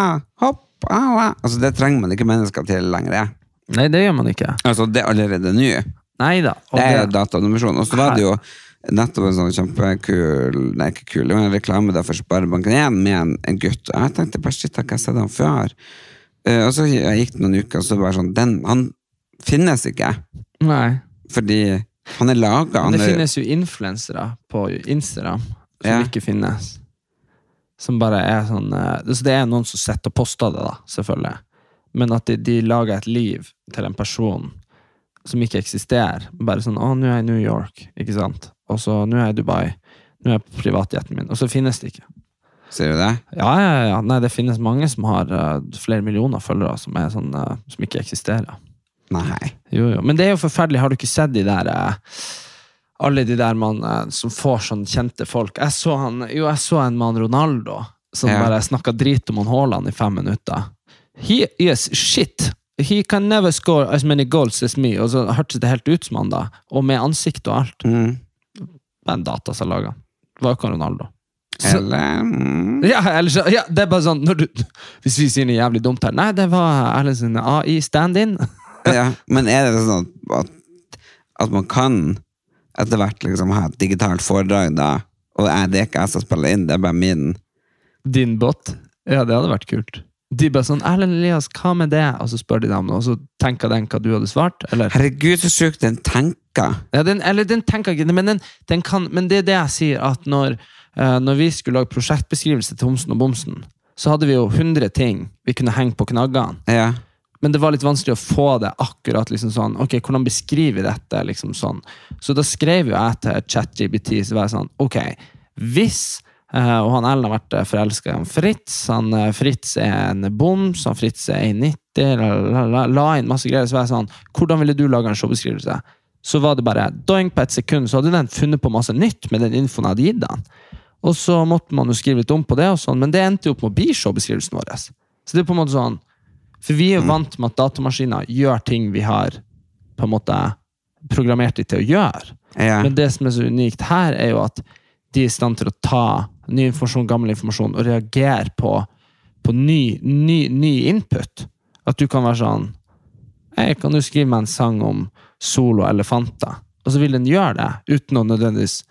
Speaker 1: Hopp!' Au, au. Altså, det trenger man ikke mennesker til lenger.
Speaker 2: Nei, det gjør man ikke.
Speaker 1: Altså, det er allerede nå.
Speaker 2: Nei da. og
Speaker 1: Det er
Speaker 2: det-
Speaker 1: dataanimasjon. Og så var det jo nettopp en sånn kjempekul Nei, ikke kul, det var en reklame der for Sparebanken 1 med en, en gutt. Og jeg tenkte bare shit, har ikke jeg sett han før? Eh, og så gikk det noen uker, og så bare sånn den, han, finnes ikke.
Speaker 2: Nei.
Speaker 1: Fordi han er laga
Speaker 2: Men det
Speaker 1: under
Speaker 2: finnes jo influensere på Instagram som
Speaker 1: Ja.
Speaker 2: ikke finnes. Som bare er sånn eh, så Det er noen som sitter og poster det, da, selvfølgelig. Men at de, de lager et liv til en person som ikke eksisterer. Bare sånn 'Å, nå er jeg i New York', ikke sant? Og så 'Nå er jeg i Dubai'. Nå er jeg på privatjeten min. Og så finnes det ikke.
Speaker 1: Ser du det?
Speaker 2: Ja, ja, ja. Nei, det finnes mange som har eh, flere millioner følgere, som, er sånn, eh, som ikke eksisterer.
Speaker 1: Nei.
Speaker 2: Jo, jo. Men det er jo forferdelig. Har du ikke sett de der eh, Alle de der man, eh, som får sånn kjente folk? Jeg så, han, jo, jeg så en mann Ronaldo som
Speaker 1: Ja.
Speaker 2: bare snakka drit om han Haaland i fem minutter. He is shit. He can never score as many goals as me. Og så hørtes det helt ut som han da. Og med ansikt og alt.
Speaker 1: Mm.
Speaker 2: Den data som laga. Var jo ikke han Ronaldo. Så-
Speaker 1: Eller mm.
Speaker 2: ja, ellers, ja, det er bare sånn når du, [LAUGHS] Hvis vi sier noe jævlig dumt her Nei, det var Erlend sin AI stand-in.
Speaker 1: ja. Men er det sånn at, at man kan etter hvert liksom ha et digitalt foredrag da, og er det er ikke jeg som spiller inn, det er bare min
Speaker 2: Din båt? Ja, det hadde vært kult. De bare sånn 'Erlend Elias, hva med det?' Og så spør de dem, og så tenker den hva du hadde svart. Eller,
Speaker 1: Herregud, så sjukt den tenker!
Speaker 2: ja, den, eller den tenker ikke, men, den, den kan, men det er det jeg sier, at når, eh, når vi skulle lage prosjektbeskrivelse til Homsen og Bomsen, så hadde vi jo 100 ting vi kunne henge på knaggene.
Speaker 1: Ja.
Speaker 2: Men det var litt vanskelig å få det akkurat liksom sånn. Ok, hvordan beskriver vi dette? liksom sånn. Så da skrev jo jeg til ChatGBT så var jeg sånn, ok, hvis eh, og han Ellen har vært forelska i han Fritz. Han, eh, Fritz er en boms, han Fritz er 1,90. La, la, la, la inn masse greier. Så var jeg sånn Hvordan ville du lage en showbeskrivelse? Så var det bare doink på et sekund, så hadde den funnet på masse nytt med den infoen jeg hadde gitt den. Og så måtte man jo skrive litt om på det, og sånn, men det endte jo opp med å bli showbeskrivelsen vår. Så det er på en måte sånn for vi er jo vant med at datamaskiner gjør ting vi har på en måte programmert dem til å gjøre.
Speaker 1: Ja.
Speaker 2: Men det som er så unikt her, er jo at de er i stand til å ta ny informasjon, gammel informasjon, og reagere på, på ny, ny, ny input. At du kan være sånn Hei, kan du skrive meg en sang om sol og elefanter? Og så vil den gjøre det, uten å nødvendigvis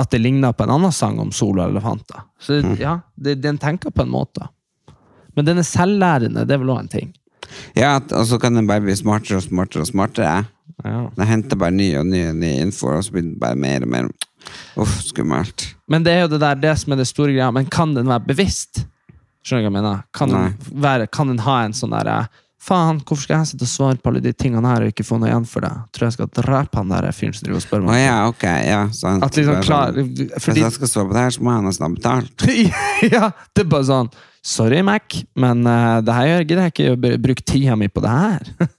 Speaker 2: at det ligner på en annen sang om sol og elefanter. Så ja, det, den tenker på en måte. Men den er selvlærende, det er vel òg en ting.
Speaker 1: Ja, at- og så kan den bare bli smartere og smartere og smartere. Den henter bare ny og ny og ny info, og så blir det bare mer og mer Uff, skummelt.
Speaker 2: Men det er jo det der det som er det store greia. Men kan den være bevisst? Skjønner du hva jeg mener? Kan den, være, kan den ha en sånn derre Faen, hvorfor skal jeg sitte og svare på alle de tingene her og ikke få noe igjen for det? Tror jeg skal drepe han der fyren som driver og spør
Speaker 1: Å
Speaker 2: meg.
Speaker 1: ja, ok. Ja, sant. sånn-
Speaker 2: At liksom klar
Speaker 1: Hvis
Speaker 2: Fordi
Speaker 1: jeg skal svare på det her, så må jeg nesten ha betalt.
Speaker 2: [LAUGHS] Ja, det er bare sånn Sorry, Mac, men eh, det her gjør gidder jeg ikke å br- bruke tida mi på det her. [LAUGHS]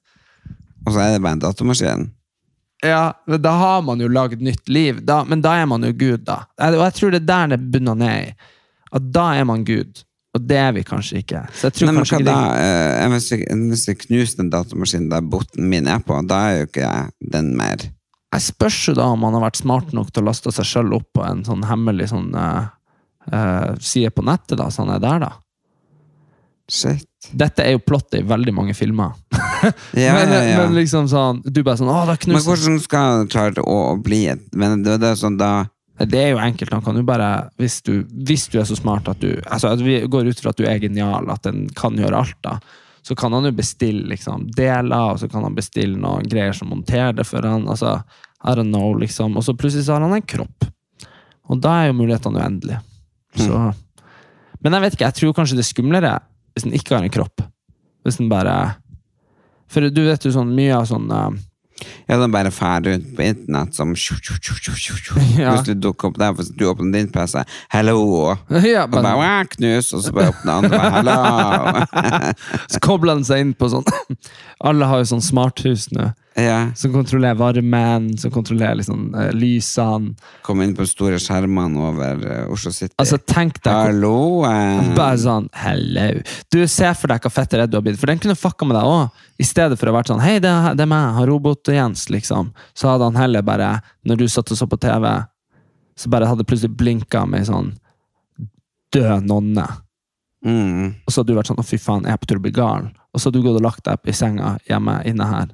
Speaker 1: Og så er det bare en datamaskin.
Speaker 2: ja, men Da har man jo lagd nytt liv, da, men da er man jo Gud, da. Jeg- Og jeg tror det er der det bunner ned i. At da er man Gud. Og det er vi kanskje ikke. Så jeg tror
Speaker 1: Nei, men
Speaker 2: kanskje
Speaker 1: hva
Speaker 2: ikke
Speaker 1: da?
Speaker 2: det-
Speaker 1: Eh, Hvis jeg, hvis jeg knuser den datamaskinen der boten min er på, da er jo ikke jeg den mer.
Speaker 2: Jeg spørs jo da om han har vært smart nok til å laste seg sjøl opp på en sånn hemmelig sånn eh, eh, side på nettet, da, så han er der, da.
Speaker 1: Shit.
Speaker 2: Dette er jo plottet i veldig mange filmer.
Speaker 1: Ja,
Speaker 2: [LAUGHS] men,
Speaker 1: ja, ja.
Speaker 2: men liksom sånn Du bare sånn Å, da
Speaker 1: Men
Speaker 2: knuser
Speaker 1: hvordan skal han klare å å bli et Men det, det er sånn da
Speaker 2: Det er jo enkelt. Han kan jo bare Hvis du, hvis du er så smart at du Altså, at vi går ut fra at du er genial, at den kan gjøre alt, da. Så kan han jo bestille liksom deler, og så kan han bestille noen greier som monterer det for han. Altså, I don't know, liksom. Og så plutselig så har han en kropp. Og da er jo mulighetene uendelige. Så Men jeg vet ikke, jeg tror kanskje det er skumlere hvis den ikke har en kropp. Hvis den bare For du vet jo sånn mye av sånn eh, [LAUGHS]
Speaker 1: Ja, den bare fær rundt på internett som tju, tju, tju, tju, tju, tju.
Speaker 2: Ja.
Speaker 1: Plutselig dukker opp der, for du åpner din PC. Hello!
Speaker 2: ja,
Speaker 1: Og bare
Speaker 2: bare,
Speaker 1: «Wah, knus, og så bare åpner andre. bare, Hello!
Speaker 2: Så kobler den seg inn på sånn [LAUGHS] Alle har jo sånn smarthus nå.
Speaker 1: ja.
Speaker 2: Som kontrollerer varmen, som kontrollerer liksom, eh, lysene.
Speaker 1: Kom inn på de store skjermene over eh, Oslo City.
Speaker 2: Altså, tenk deg hvor-
Speaker 1: Hallo! eh.
Speaker 2: Bare sånn Hello. Du, se for deg hva fett redd du har blitt. For den kunne fucka med deg òg. I stedet for å ha vært sånn Hei, det er, det er meg. Har Robot-Jens, liksom. Så hadde han heller bare, når du satt og så på TV, så bare hadde plutselig blinka med ei sånn død nonne.
Speaker 1: Mm.
Speaker 2: Og så hadde du vært sånn Å, fy faen, jeg er på tur til å bli gal. Og så hadde du gått og lagt deg i senga hjemme inne her.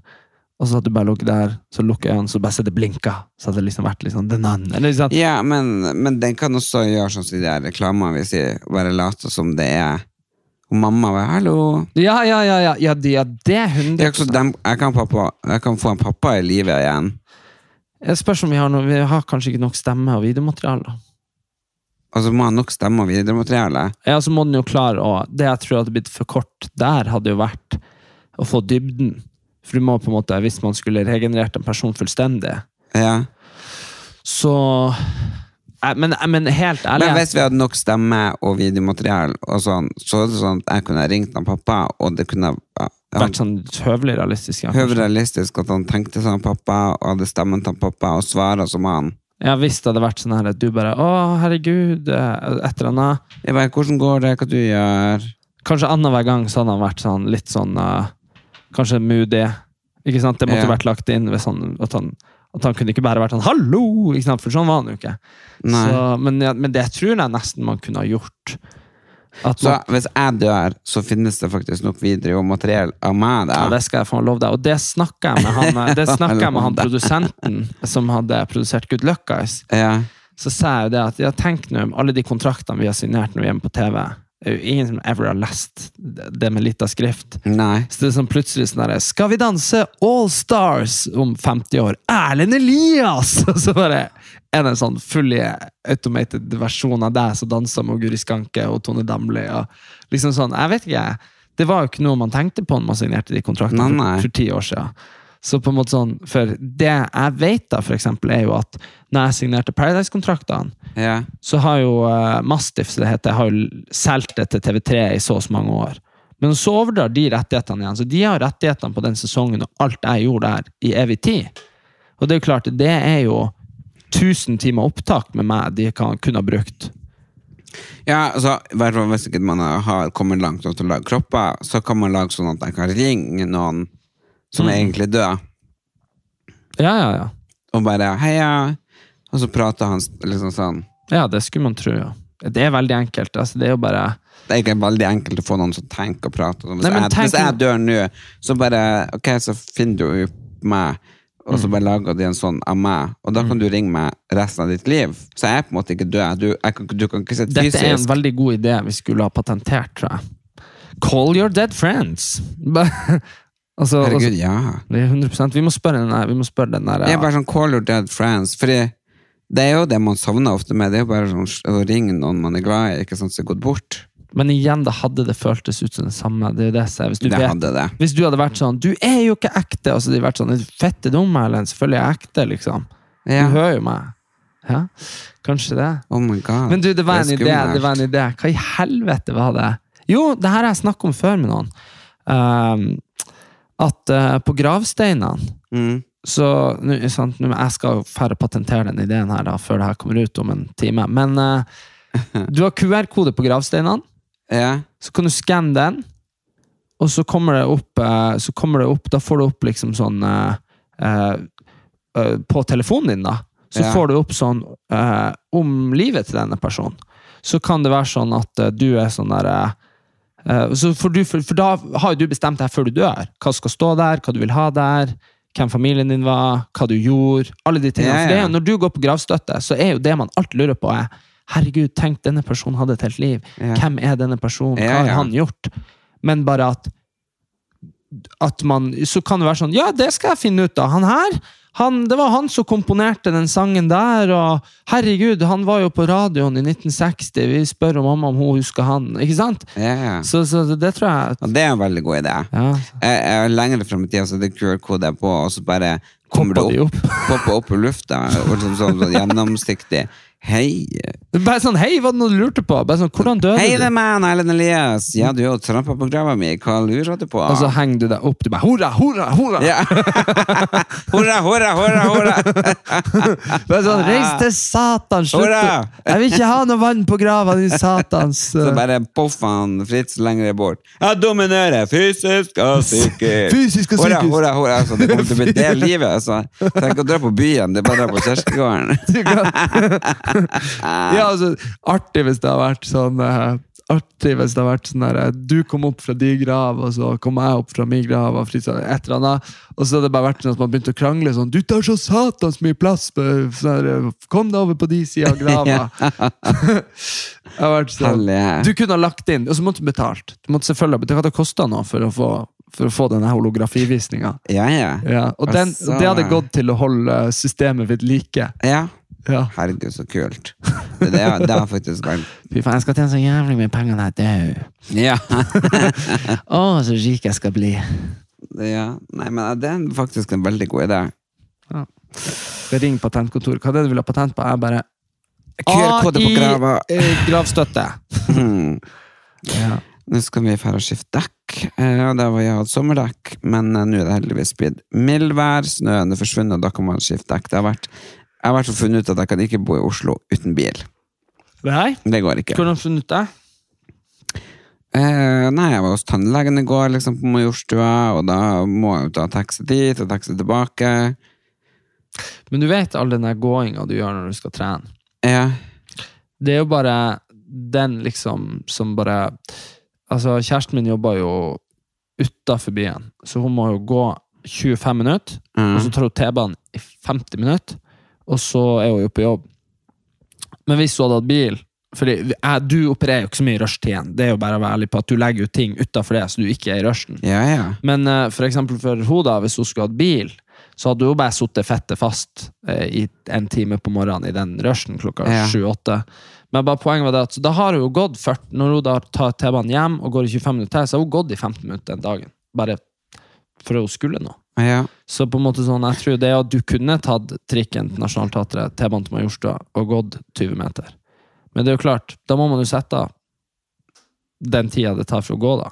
Speaker 2: Og så hadde du bare ligget der, så lukker øynene, så bare ser det blinka. Så hadde det liksom vært litt sånn The Nun. Eller liksom,
Speaker 1: Ja, men, men den kan også gjøre sånn som de der reklamene vi sier, bare late som det er Og mamma var 'hallo'.
Speaker 2: Ja, ja, ja, ja, ja, de- ja det er
Speaker 1: Det er ikke
Speaker 2: 100
Speaker 1: så dem, jeg, kan pappa, jeg kan få en pappa i livet igjen.
Speaker 2: Jeg spørs om vi har noe Vi har kanskje ikke nok stemme og videomateriale.
Speaker 1: Og så må han nok stemme og videomateriale.
Speaker 2: Ja, så må den jo klare å Det jeg tror hadde blitt for kort der, hadde jo vært å få dybden. For du må på en måte, hvis man skulle regenerert en person fullstendig,
Speaker 1: Ja.
Speaker 2: så Nei, men, men helt ærlig
Speaker 1: Men hvis vi hadde nok stemme og videomateriale, og sånn, så er det sånn at jeg kunne ha ringt han pappa, og det kunne ha
Speaker 2: vært sånn høvelig realistisk. Ja, kanskje.
Speaker 1: høvrealistisk at han tenkte som pappa, og hadde stemmen til han pappa, og svara som han.
Speaker 2: ja, hvis det hadde vært sånn her at du bare Å, herregud. eh, Et eller annet.
Speaker 1: Jeg bare, hvordan går det, hva du gjør?
Speaker 2: Kanskje annenhver gang så hadde han vært sånn litt sånn eh, Kanskje moody. Ikke sant? Det måtte
Speaker 1: Ja.
Speaker 2: vært lagt inn hvis han, at han at han kunne ikke bare vært sånn 'hallo', ikke sant? for sånn var han jo ikke.
Speaker 1: Nei.
Speaker 2: Så, men, ja, men det tror jeg nesten man kunne ha gjort. At
Speaker 1: Så
Speaker 2: man,
Speaker 1: hvis jeg dør, så finnes det faktisk nok video og materiell av meg
Speaker 2: ja,
Speaker 1: der.
Speaker 2: det skal jeg faen love deg. Og det snakka jeg med han, eh,
Speaker 1: [LAUGHS]
Speaker 2: det snakket jeg med han
Speaker 1: Love deg.
Speaker 2: produsenten som hadde produsert Good Luck Guys.
Speaker 1: Ja.
Speaker 2: Så sa jeg jo det at ja, tenk nå om alle de kontraktene vi har signert når vi er hjemme på TV. Det er jo ingen som ever har lest det det med lita skrift.
Speaker 1: Nei.
Speaker 2: Så det er sånn plutselig sånn derre Skal vi danse All Stars om 50 år? Erlend Elias! [LAUGHS] Og så bare er det en sånn fully automated versjon av deg som danser med Guri Skanke og Tone Damli. Og liksom sånn, jeg vet ikke, jeg. Det var jo ikke noe man tenkte på når man signerte de kontraktene
Speaker 1: Nei, nei.
Speaker 2: for- for ti år siden. Så på en måte sånn, for det jeg vet da, for eksempel, er jo at når jeg signerte Paradise-kontraktene,
Speaker 1: Ja.
Speaker 2: så har jo eh, Mastiff, som det heter, har jo solgt det til TV3 i så og så mange år. Men så overdrar de rettighetene igjen, så de har rettighetene på den sesongen og alt jeg gjorde der, i evig tid. Og det er jo klart, det er jo 1000 timer opptak med meg de kan, kunne ha brukt.
Speaker 1: ja, så i hvert fall hvis ikke man har kommet langt nok til å lage kropper, så kan man lage sånn at jeg kan ringe noen som
Speaker 2: Mm.
Speaker 1: er egentlig død,
Speaker 2: Ja, ja, ja.
Speaker 1: og bare 'heia', og så prater han s- liksom sånn.
Speaker 2: Ja, det skulle man tro, ja. Det er veldig enkelt. altså Det er jo bare
Speaker 1: Det er ikke veldig enkelt å få noen som tenker og prater. Hvis,
Speaker 2: Nei, men
Speaker 1: jeg,
Speaker 2: tenk-
Speaker 1: hvis jeg dør nå, så bare Ok, så finner du jo meg, og
Speaker 2: Mm.
Speaker 1: så bare lager de en sånn av meg, og da kan du ringe meg resten av ditt liv. Så jeg er på en måte ikke død. Du, jeg kan, du kan ikke sitte
Speaker 2: Dette er en
Speaker 1: fysisk.
Speaker 2: veldig god idé vi skulle ha patentert, tror jeg. Call your dead friends! [LAUGHS] altså, altså,
Speaker 1: Herregud, ja.
Speaker 2: det er 100 Vi må spørre den der. Vi må spørre den der
Speaker 1: Det er bare sånn call your dead friends. Fordi det er jo det man savner ofte med. Det er jo bare sånn s- å ringe noen man er glad i, ikke sant, som er gått bort.
Speaker 2: Men igjen, da hadde det føltes ut som det samme. Det er jo det jeg sier. Hvis du,
Speaker 1: Det
Speaker 2: vet,
Speaker 1: hadde det.
Speaker 2: hvis du hadde vært sånn 'Du er jo ikke ekte!' Og så hadde de vært sånn 'Er du fette dum, Erlend? Selvfølgelig er jeg ekte', liksom.
Speaker 1: Ja.
Speaker 2: Du hører jo meg. Ja, kanskje det.
Speaker 1: Oh my god.
Speaker 2: Men du, det var en
Speaker 1: er
Speaker 2: idé. Det var
Speaker 1: skummelt.
Speaker 2: en idé. Hva i helvete var det? Jo, det her har jeg snakket om før med noen. Ehm, at eh, på gravsteinene
Speaker 1: Mm.
Speaker 2: så nå, sant, nå, Jeg skal jo færre patentere den ideen her da, før det her kommer ut om en time. Men eh,
Speaker 1: [LAUGHS]
Speaker 2: du har QR-kode på gravsteinene.
Speaker 1: Ja.
Speaker 2: Så kan du skanne den, og så kommer det opp, eh, så kommer det opp Da får du opp liksom sånn eh, eh, eh, På telefonen din, da. Så
Speaker 1: Ja.
Speaker 2: får du opp sånn eh, om livet til denne personen. Så kan det være sånn at eh, du er sånn derre så for, du, for, for da har jo du bestemt deg før du dør. Hva skal stå der, hva du vil ha der, hvem familien din var, hva du gjorde. alle de tingene.
Speaker 1: Ja,
Speaker 2: For det er
Speaker 1: ja.
Speaker 2: jo, Når du går på gravstøtte, så er jo det man alltid lurer på, er Herregud, tenk, denne personen hadde et helt liv.
Speaker 1: Ja.
Speaker 2: Hvem er denne personen? Hva
Speaker 1: Ja,
Speaker 2: har
Speaker 1: ja.
Speaker 2: han gjort? Men bare at at man, Så kan det være sånn Ja, det skal jeg finne ut av! Han her, han, det var han som komponerte den sangen der, og herregud, han var jo på radioen i 1960, vi spør om mamma om hun husker han. Ikke sant?
Speaker 1: Ja, ja.
Speaker 2: Så, så det, det tror jeg
Speaker 1: Og det er en veldig god idé.
Speaker 2: ja.
Speaker 1: Jeg, jeg er lengre frem i tida, så det er QR-kode på, og så bare kommer
Speaker 2: Popper
Speaker 1: det
Speaker 2: de
Speaker 1: opp, [LAUGHS] popper opp i lufta. Og sånn, sånn, sånn gjennomsiktig. Hei,
Speaker 2: Bare sånn 'Hei, hva var det noe du lurte på?' Bare sånn, 'Hvordan døde
Speaker 1: hei det er
Speaker 2: du?'
Speaker 1: meg, Erlend Elias. Ja, du har jo trampa på grava mi. Hva lurer du på?
Speaker 2: Og så henger du deg opp. Du bare 'Hurra, hurra, hurra'.
Speaker 1: [LAUGHS] ja. [LAUGHS] hurra, hurra, hurra,
Speaker 2: [LAUGHS]
Speaker 1: hurra!
Speaker 2: Bare sånn 'Reis til Satan, slutt!
Speaker 1: Hurra!»
Speaker 2: du. Jeg vil ikke ha noe vann på grava di, Satans
Speaker 1: [LAUGHS] Så bare poff han Fritz lenger bort. Jeg dominerer fysisk og psykisk.
Speaker 2: Fysisk og
Speaker 1: Hurra,
Speaker 2: psykisk.
Speaker 1: hurra, hurra. Altså, det kommer til å bli det livet. Altså. Tenk å dra på byen, det er bare å dra på
Speaker 2: [LAUGHS]
Speaker 1: kirkegården.
Speaker 2: ja, altså, artig hvis det hadde vært sånn eh, artig hvis det har vært sånn der Du kom opp fra din grav, og så kom jeg opp fra min grav. Og, Fritz- et eller annet. og så har det bare vært sånn at man begynte å krangle sånn Du tar så satans mye plass! på- Sånn, der, kom deg over på de sida av [LAUGHS] grava! Jeg har vært sånn
Speaker 1: Herlig.
Speaker 2: Du kunne ha lagt inn, og så måtte du betalt. Du måtte selvfølgelig ha betalt. Det hadde kosta noe for å få, for å få denne holografivisninga.
Speaker 1: Ja, ja.
Speaker 2: Ja, og den,
Speaker 1: Altså.
Speaker 2: det hadde gått til å holde systemet ved like.
Speaker 1: Ja.
Speaker 2: Ja.
Speaker 1: Herregud, så kult. Det, det, har- det har faktisk vært
Speaker 2: Fy faen, jeg skal tjene så jævlig mye penger når jeg dør.
Speaker 1: ja. [LAUGHS]
Speaker 2: Å, så rik jeg skal bli.
Speaker 1: ja. Nei, men det er faktisk en veldig god idé.
Speaker 2: Ring patentkontoret. Hva er det du vil ha patent på? Jeg bare
Speaker 1: QR-kode på
Speaker 2: AI,
Speaker 1: grava.
Speaker 2: eh, Gravstøtte.
Speaker 1: Hmm.
Speaker 2: Ja.
Speaker 1: Nå skal vi dra og skifte dekk. Eh, og Der var jeg hatt sommerdekk, men eh, nå er det heldigvis blitt mildvær. Snøen er forsvunnet, og da kan man skifte dekk. Det har vært, jeg har i hvert fall funnet ut at jeg kan ikke bo i Oslo uten bil.
Speaker 2: Nei?
Speaker 1: Det går ikke.
Speaker 2: Hvordan har du funnet det?
Speaker 1: Eh, nei, jeg var hos tannlegen i går, liksom, på Majorstua, og da må jeg jo ta taxi dit og taxi tilbake.
Speaker 2: Men du vet all den der gåinga du gjør når du skal trene.
Speaker 1: Ja.
Speaker 2: Det er jo bare den liksom som bare Altså, kjæresten min jobber jo utafor byen, så hun må jo gå 25 minutter. Og så
Speaker 1: Mm.
Speaker 2: tar hun T-banen i 50 minutter, og så er hun jo på jobb. Men hvis hun hadde hatt bil fordi jeg, Du opererer jo ikke så mye i rushtiden. Det er jo bare å være ærlig på at du legger ut ting utenfor det, så du ikke er i rushen.
Speaker 1: ja, ja.
Speaker 2: Men eh, for eksempel for hun da, hvis hun skulle hatt bil, så hadde hun bare sittet fettet fast eh, i en time på morgenen i den rushen klokka
Speaker 1: Ja.
Speaker 2: sju-åtte. Men bare poenget var det at så da har hun jo gått 40, når hun da tar T-banen hjem og går i 25 minutter til, så har hun gått i 15 minutter den dagen. Bare for hun skulle noe.
Speaker 1: ja.
Speaker 2: Så på en måte sånn, jeg tror det at du kunne tatt trikken til Nationaltheatret, T-banen til Majorstua og gått 20 meter. Men det er jo klart, da må man jo sette av den tida det tar for å gå, da.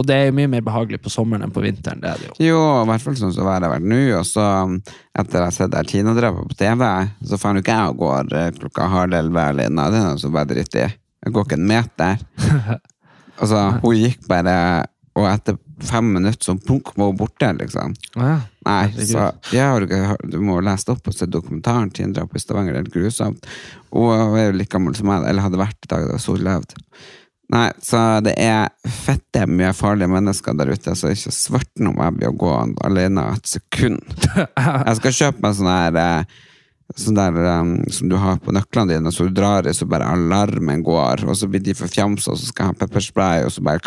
Speaker 2: Og det er jo mye mer behagelig på sommeren enn på vinteren. det er det jo.
Speaker 1: Jo, i hvert fall sånn som været har vært nå. Og så um, etter jeg har sett Tina-drapet på TV, så fant jo ikke jeg og går eh, klokka halv elleve eller noe. Det er noe så bare dritt i. Jeg går ikke en meter. Altså, hun gikk bare, og etter fem minutter så punk var hun borte, liksom. Nei, så jeg har, ikke hørt- du må jo lese det opp og se dokumentaren Tina-drapet i Stavanger. Det er helt grusomt. Og hun er jo like gammel som meg, eller hadde vært i dag da hun levde. Nei, så det er fette mye farlige mennesker der ute, så ikke svarten om jeg blir å gå alene et sekund. Jeg skal kjøpe meg sånn her eh, Sånn der em, som du har på nøklene dine, så du drar i, så bare alarmen går, og så blir de forfjamsa, og så skal jeg ha pepperspray, og så bare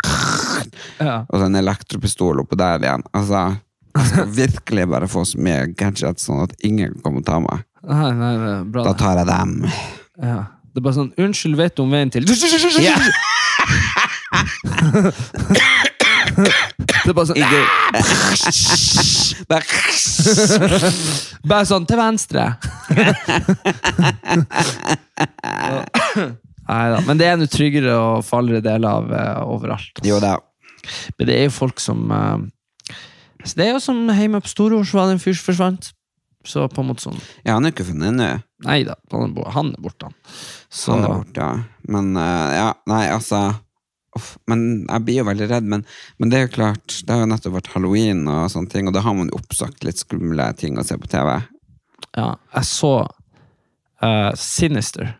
Speaker 2: Ja.
Speaker 1: Og så en elektropistol oppå der igjen. Altså, jeg skal virkelig bare få så mye gadgets sånn at ingen kan komme og ta meg.
Speaker 2: Nei, nei, det er bra.
Speaker 1: Da
Speaker 2: det.
Speaker 1: tar jeg dem.
Speaker 2: Ja. Det er bare sånn Unnskyld, vet du om veien til [LAUGHS] Det er bare sånn
Speaker 1: Bare
Speaker 2: Bare sånn til
Speaker 1: [LAUGHS]
Speaker 2: venstre. Nei da. Men det er nå tryggere og farligere deler av eh, overalt. altså.
Speaker 1: Jo da.
Speaker 2: Men det er jo folk som eh, altså Det er jo som hjemme på Storord, så var det en fyr som forsvant. Så på en måte sånn
Speaker 1: Jeg har nå ikke funnet ennå.
Speaker 2: Nei da, han er bo- han er borte, han. Så,
Speaker 1: Han er borte, ja. Men eh, ja, nei, altså uff, men Jeg blir jo veldig redd, men, men det er jo klart Det har jo nettopp vært halloween, og sånne ting Og da har man jo oppsagt litt skumle ting å se på TV.
Speaker 2: Ja, jeg så eh, Sinister.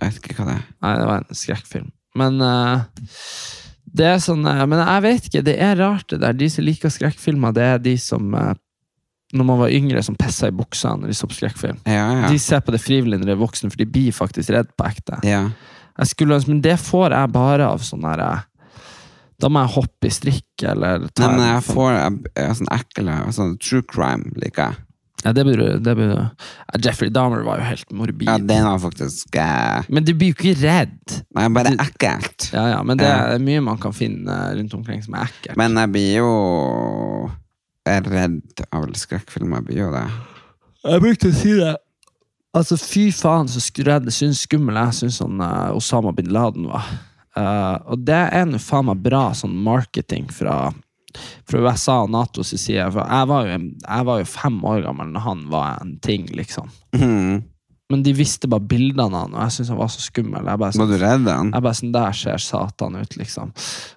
Speaker 1: Jeg vet ikke hva det er.
Speaker 2: Nei, det var en skrekkfilm. Men eh, det er sånn eh, Men jeg vet ikke, det er rart det der. De som liker skrekkfilmer, det er de som eh, når man var yngre, som pissa i buksa når de så på skrekkfilm.
Speaker 1: Ja, ja.
Speaker 2: De ser på det frivillig når de er voksne, for de blir faktisk redd på ekte.
Speaker 1: ja.
Speaker 2: Jeg skulle ønske, Men det får jeg bare av sånn her eh, Da må jeg hoppe i strikk eller ta
Speaker 1: Nei, men
Speaker 2: en
Speaker 1: jeg
Speaker 2: sånn-
Speaker 1: får jeg, jeg, sånn ekle sånn True crime liker jeg.
Speaker 2: ja, det blir, det blir, ja, Jeffrey Dahmer var jo helt morbid.
Speaker 1: Ja, den var faktisk eh,
Speaker 2: Men du blir jo ikke redd.
Speaker 1: Nei, bare ekkelt.
Speaker 2: Ja, ja, Men det
Speaker 1: Ja.
Speaker 2: er mye man kan finne rundt omkring som er ekkelt.
Speaker 1: Men jeg blir jo jeg er redd av skrekkfilmer. Jeg blir jo det.
Speaker 2: Jeg brukte å si det. Altså, fy faen, så sk- redd jeg syns skummel jeg syns han eh, Osama bin Laden var. Eh, og det er nå faen meg bra sånn marketing fra, fra USA og NATO sin side. For jeg var, jo, en- jeg var jo fem år gammel når han var en ting, liksom.
Speaker 1: Mhm.
Speaker 2: Men de visste bare bildene av han, og jeg syntes han var så skummel. Jeg bare, sånn-
Speaker 1: Var du redd han?
Speaker 2: jeg bare sånn, Der ser satan ut, liksom.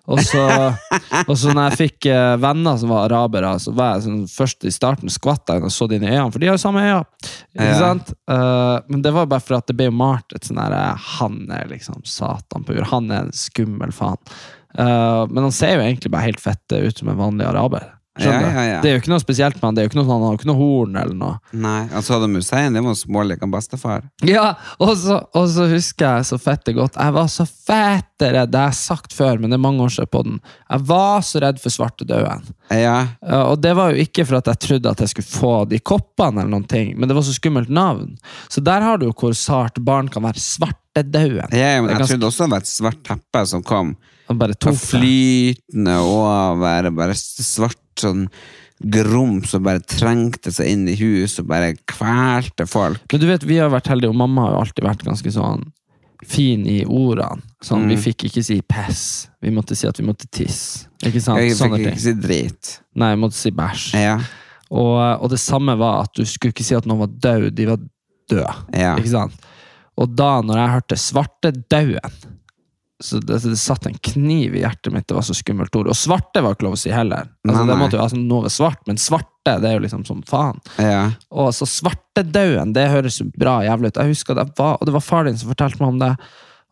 Speaker 2: Og
Speaker 1: [LAUGHS]
Speaker 2: så, og så når jeg fikk eh, venner som var arabere, så var jeg sånn, først i starten skvatt jeg og så det inn i øynene, for de har jo samme øyne. Ikke
Speaker 1: Ja.
Speaker 2: sant? Eh, men det var bare for at det ble jo malt et sånn derre Han er liksom satan på jord. Han er en skummel faen. Eh, men han ser jo egentlig bare helt fette ut som en vanlig araber. Skjønner du?
Speaker 1: Ja, ja, ja.
Speaker 2: Det er jo ikke noe spesielt med han. Det er jo ikke noe sånn, Han har jo ikke noe horn eller noe.
Speaker 1: Nei, og så hadde Musein, det var smålig han bestefar.
Speaker 2: Ja, og så, og så husker jeg så fette godt. Jeg var så fette redd. Det har jeg sagt før, men det er mange år siden på den. Jeg var så redd for svartedauden.
Speaker 1: Ja,
Speaker 2: Eh, Og det var jo ikke for at jeg trodde at jeg skulle få de koppene, eller noen ting, men det var så skummelt navn. Så der har du jo hvor sart barn kan være.
Speaker 1: jeg, men
Speaker 2: Svartedauden. Det er
Speaker 1: jeg
Speaker 2: ganske-
Speaker 1: trodde også det var et svart teppe som kom
Speaker 2: Han bare
Speaker 1: og
Speaker 2: tok det.
Speaker 1: flytende over, og bare svart sånn grums som bare trengte seg inn i hus og bare kvelte folk.
Speaker 2: Men du vet, vi har vært heldige, og mamma har jo alltid vært ganske sånn fin i ordene. Sånn,
Speaker 1: Mm.
Speaker 2: Vi fikk ikke si pess. Vi måtte si at vi måtte tisse. Ikke sant?
Speaker 1: Jeg fikk
Speaker 2: Sånne ting.
Speaker 1: ikke si drit.
Speaker 2: Nei, vi måtte si bæsj.
Speaker 1: Ja,
Speaker 2: Og, og det samme var at du skulle ikke si at noen var død, de var døde.
Speaker 1: Ja.
Speaker 2: Ikke sant? Og da, når jeg hørte 'svarte dauen', så det, altså, det satt en kniv i hjertet mitt. Det var så skummelt ord. Og svarte var ikke lov å si heller. Altså,
Speaker 1: Nei,
Speaker 2: det
Speaker 1: nei.
Speaker 2: måtte jo, altså, Noe var svart, men svarte, det er jo liksom som faen.
Speaker 1: ja.
Speaker 2: Og så svartedauden, det høres jo bra jævlig ut. Jeg husker det var, og det var far din som fortalte meg om det.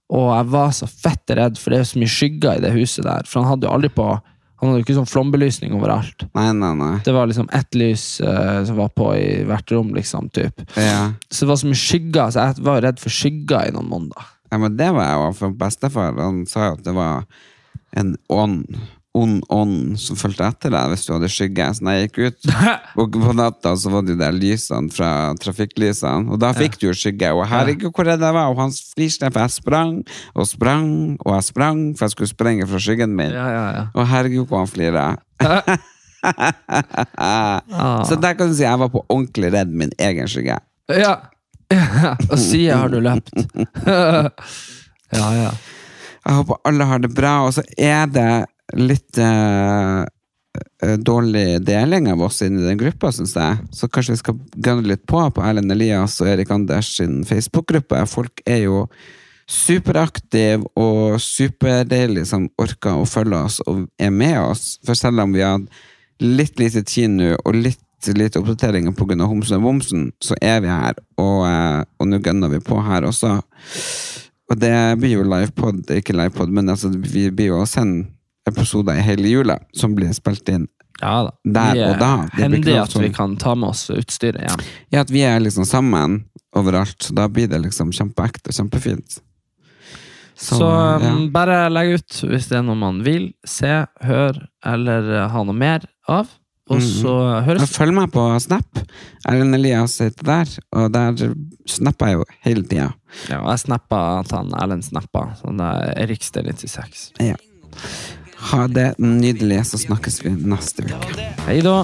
Speaker 2: Og jeg var så fett redd, for det er jo så mye skygger i det huset der. For han hadde jo aldri på Han hadde jo ikke sånn flombelysning overalt.
Speaker 1: Nei, nei, nei.
Speaker 2: Det var liksom ett lys eh, som var på i hvert rom, liksom. Typ.
Speaker 1: Ja.
Speaker 2: Så det var så mye skygger, så jeg var jo redd for skygger i noen måneder.
Speaker 1: Ja, men det var jeg også, for bestefar han sa jo at det var en ånd, ond ånd som fulgte etter deg hvis du hadde skygge. Så når jeg gikk ut og på natta, så var det jo der lysene fra trafikklysene, og da fikk du jo skygge. Og herregud, hvor redd jeg var! Og han fliserte, for jeg sprang og sprang og jeg sprang, for jeg skulle sprenge fra skyggen min.
Speaker 2: ja, ja.
Speaker 1: Og herregud, hvor han flirer. [LAUGHS] Så der kan du si jeg var på ordentlig redd min egen skygge.
Speaker 2: ja. [LAUGHS] Og siden har du løpt. [LAUGHS] ja, ja.
Speaker 1: Jeg håper alle har det bra, og så er det litt eh, eh, dårlig deling av oss inni den gruppa, syns jeg. Så kanskje vi skal gunne litt på på Erlend Elias og Erik Anders sin Facebook-gruppe. Folk er jo superaktive og superdeilige som orker å følge oss og er med oss. For selv om vi har litt lite tid nå og litt lite oppdateringer pga. Homsen og Bomsen, så er vi her, og, eh, og nå gunner vi på her også. Og det blir jo livepod, ikke livepod, men altså, vi blir jo å sende episoder i hele jula som blir spilt inn.
Speaker 2: ja da.
Speaker 1: Der
Speaker 2: Vi er
Speaker 1: og da, det blir
Speaker 2: Hendig
Speaker 1: klart
Speaker 2: at vi
Speaker 1: sånn.
Speaker 2: kan ta med oss utstyret hjem.
Speaker 1: Ja, at vi er liksom sammen overalt, så da blir det liksom kjempeekte, kjempefint.
Speaker 2: Så,
Speaker 1: Sånn, ja.
Speaker 2: um, bare legg ut hvis det er noe man vil se, høre eller eh, ha noe mer av. Og
Speaker 1: Mm.
Speaker 2: så
Speaker 1: Og
Speaker 2: høres vi.
Speaker 1: Følg meg på Snap. Erlend Elias heter der, og der snapper jeg jo hele tida.
Speaker 2: Ja, og jeg snappa at han Erlend snappa. Så det er Erik Steen 96.
Speaker 1: Ja. Ha det nydelig, så snakkes vi neste uke.
Speaker 2: Hei da.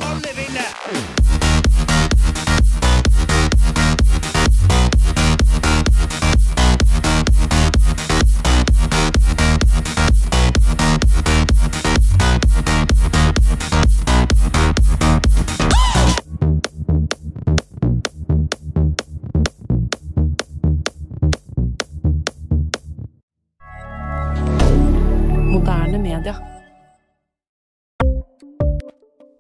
Speaker 3: Moderne media.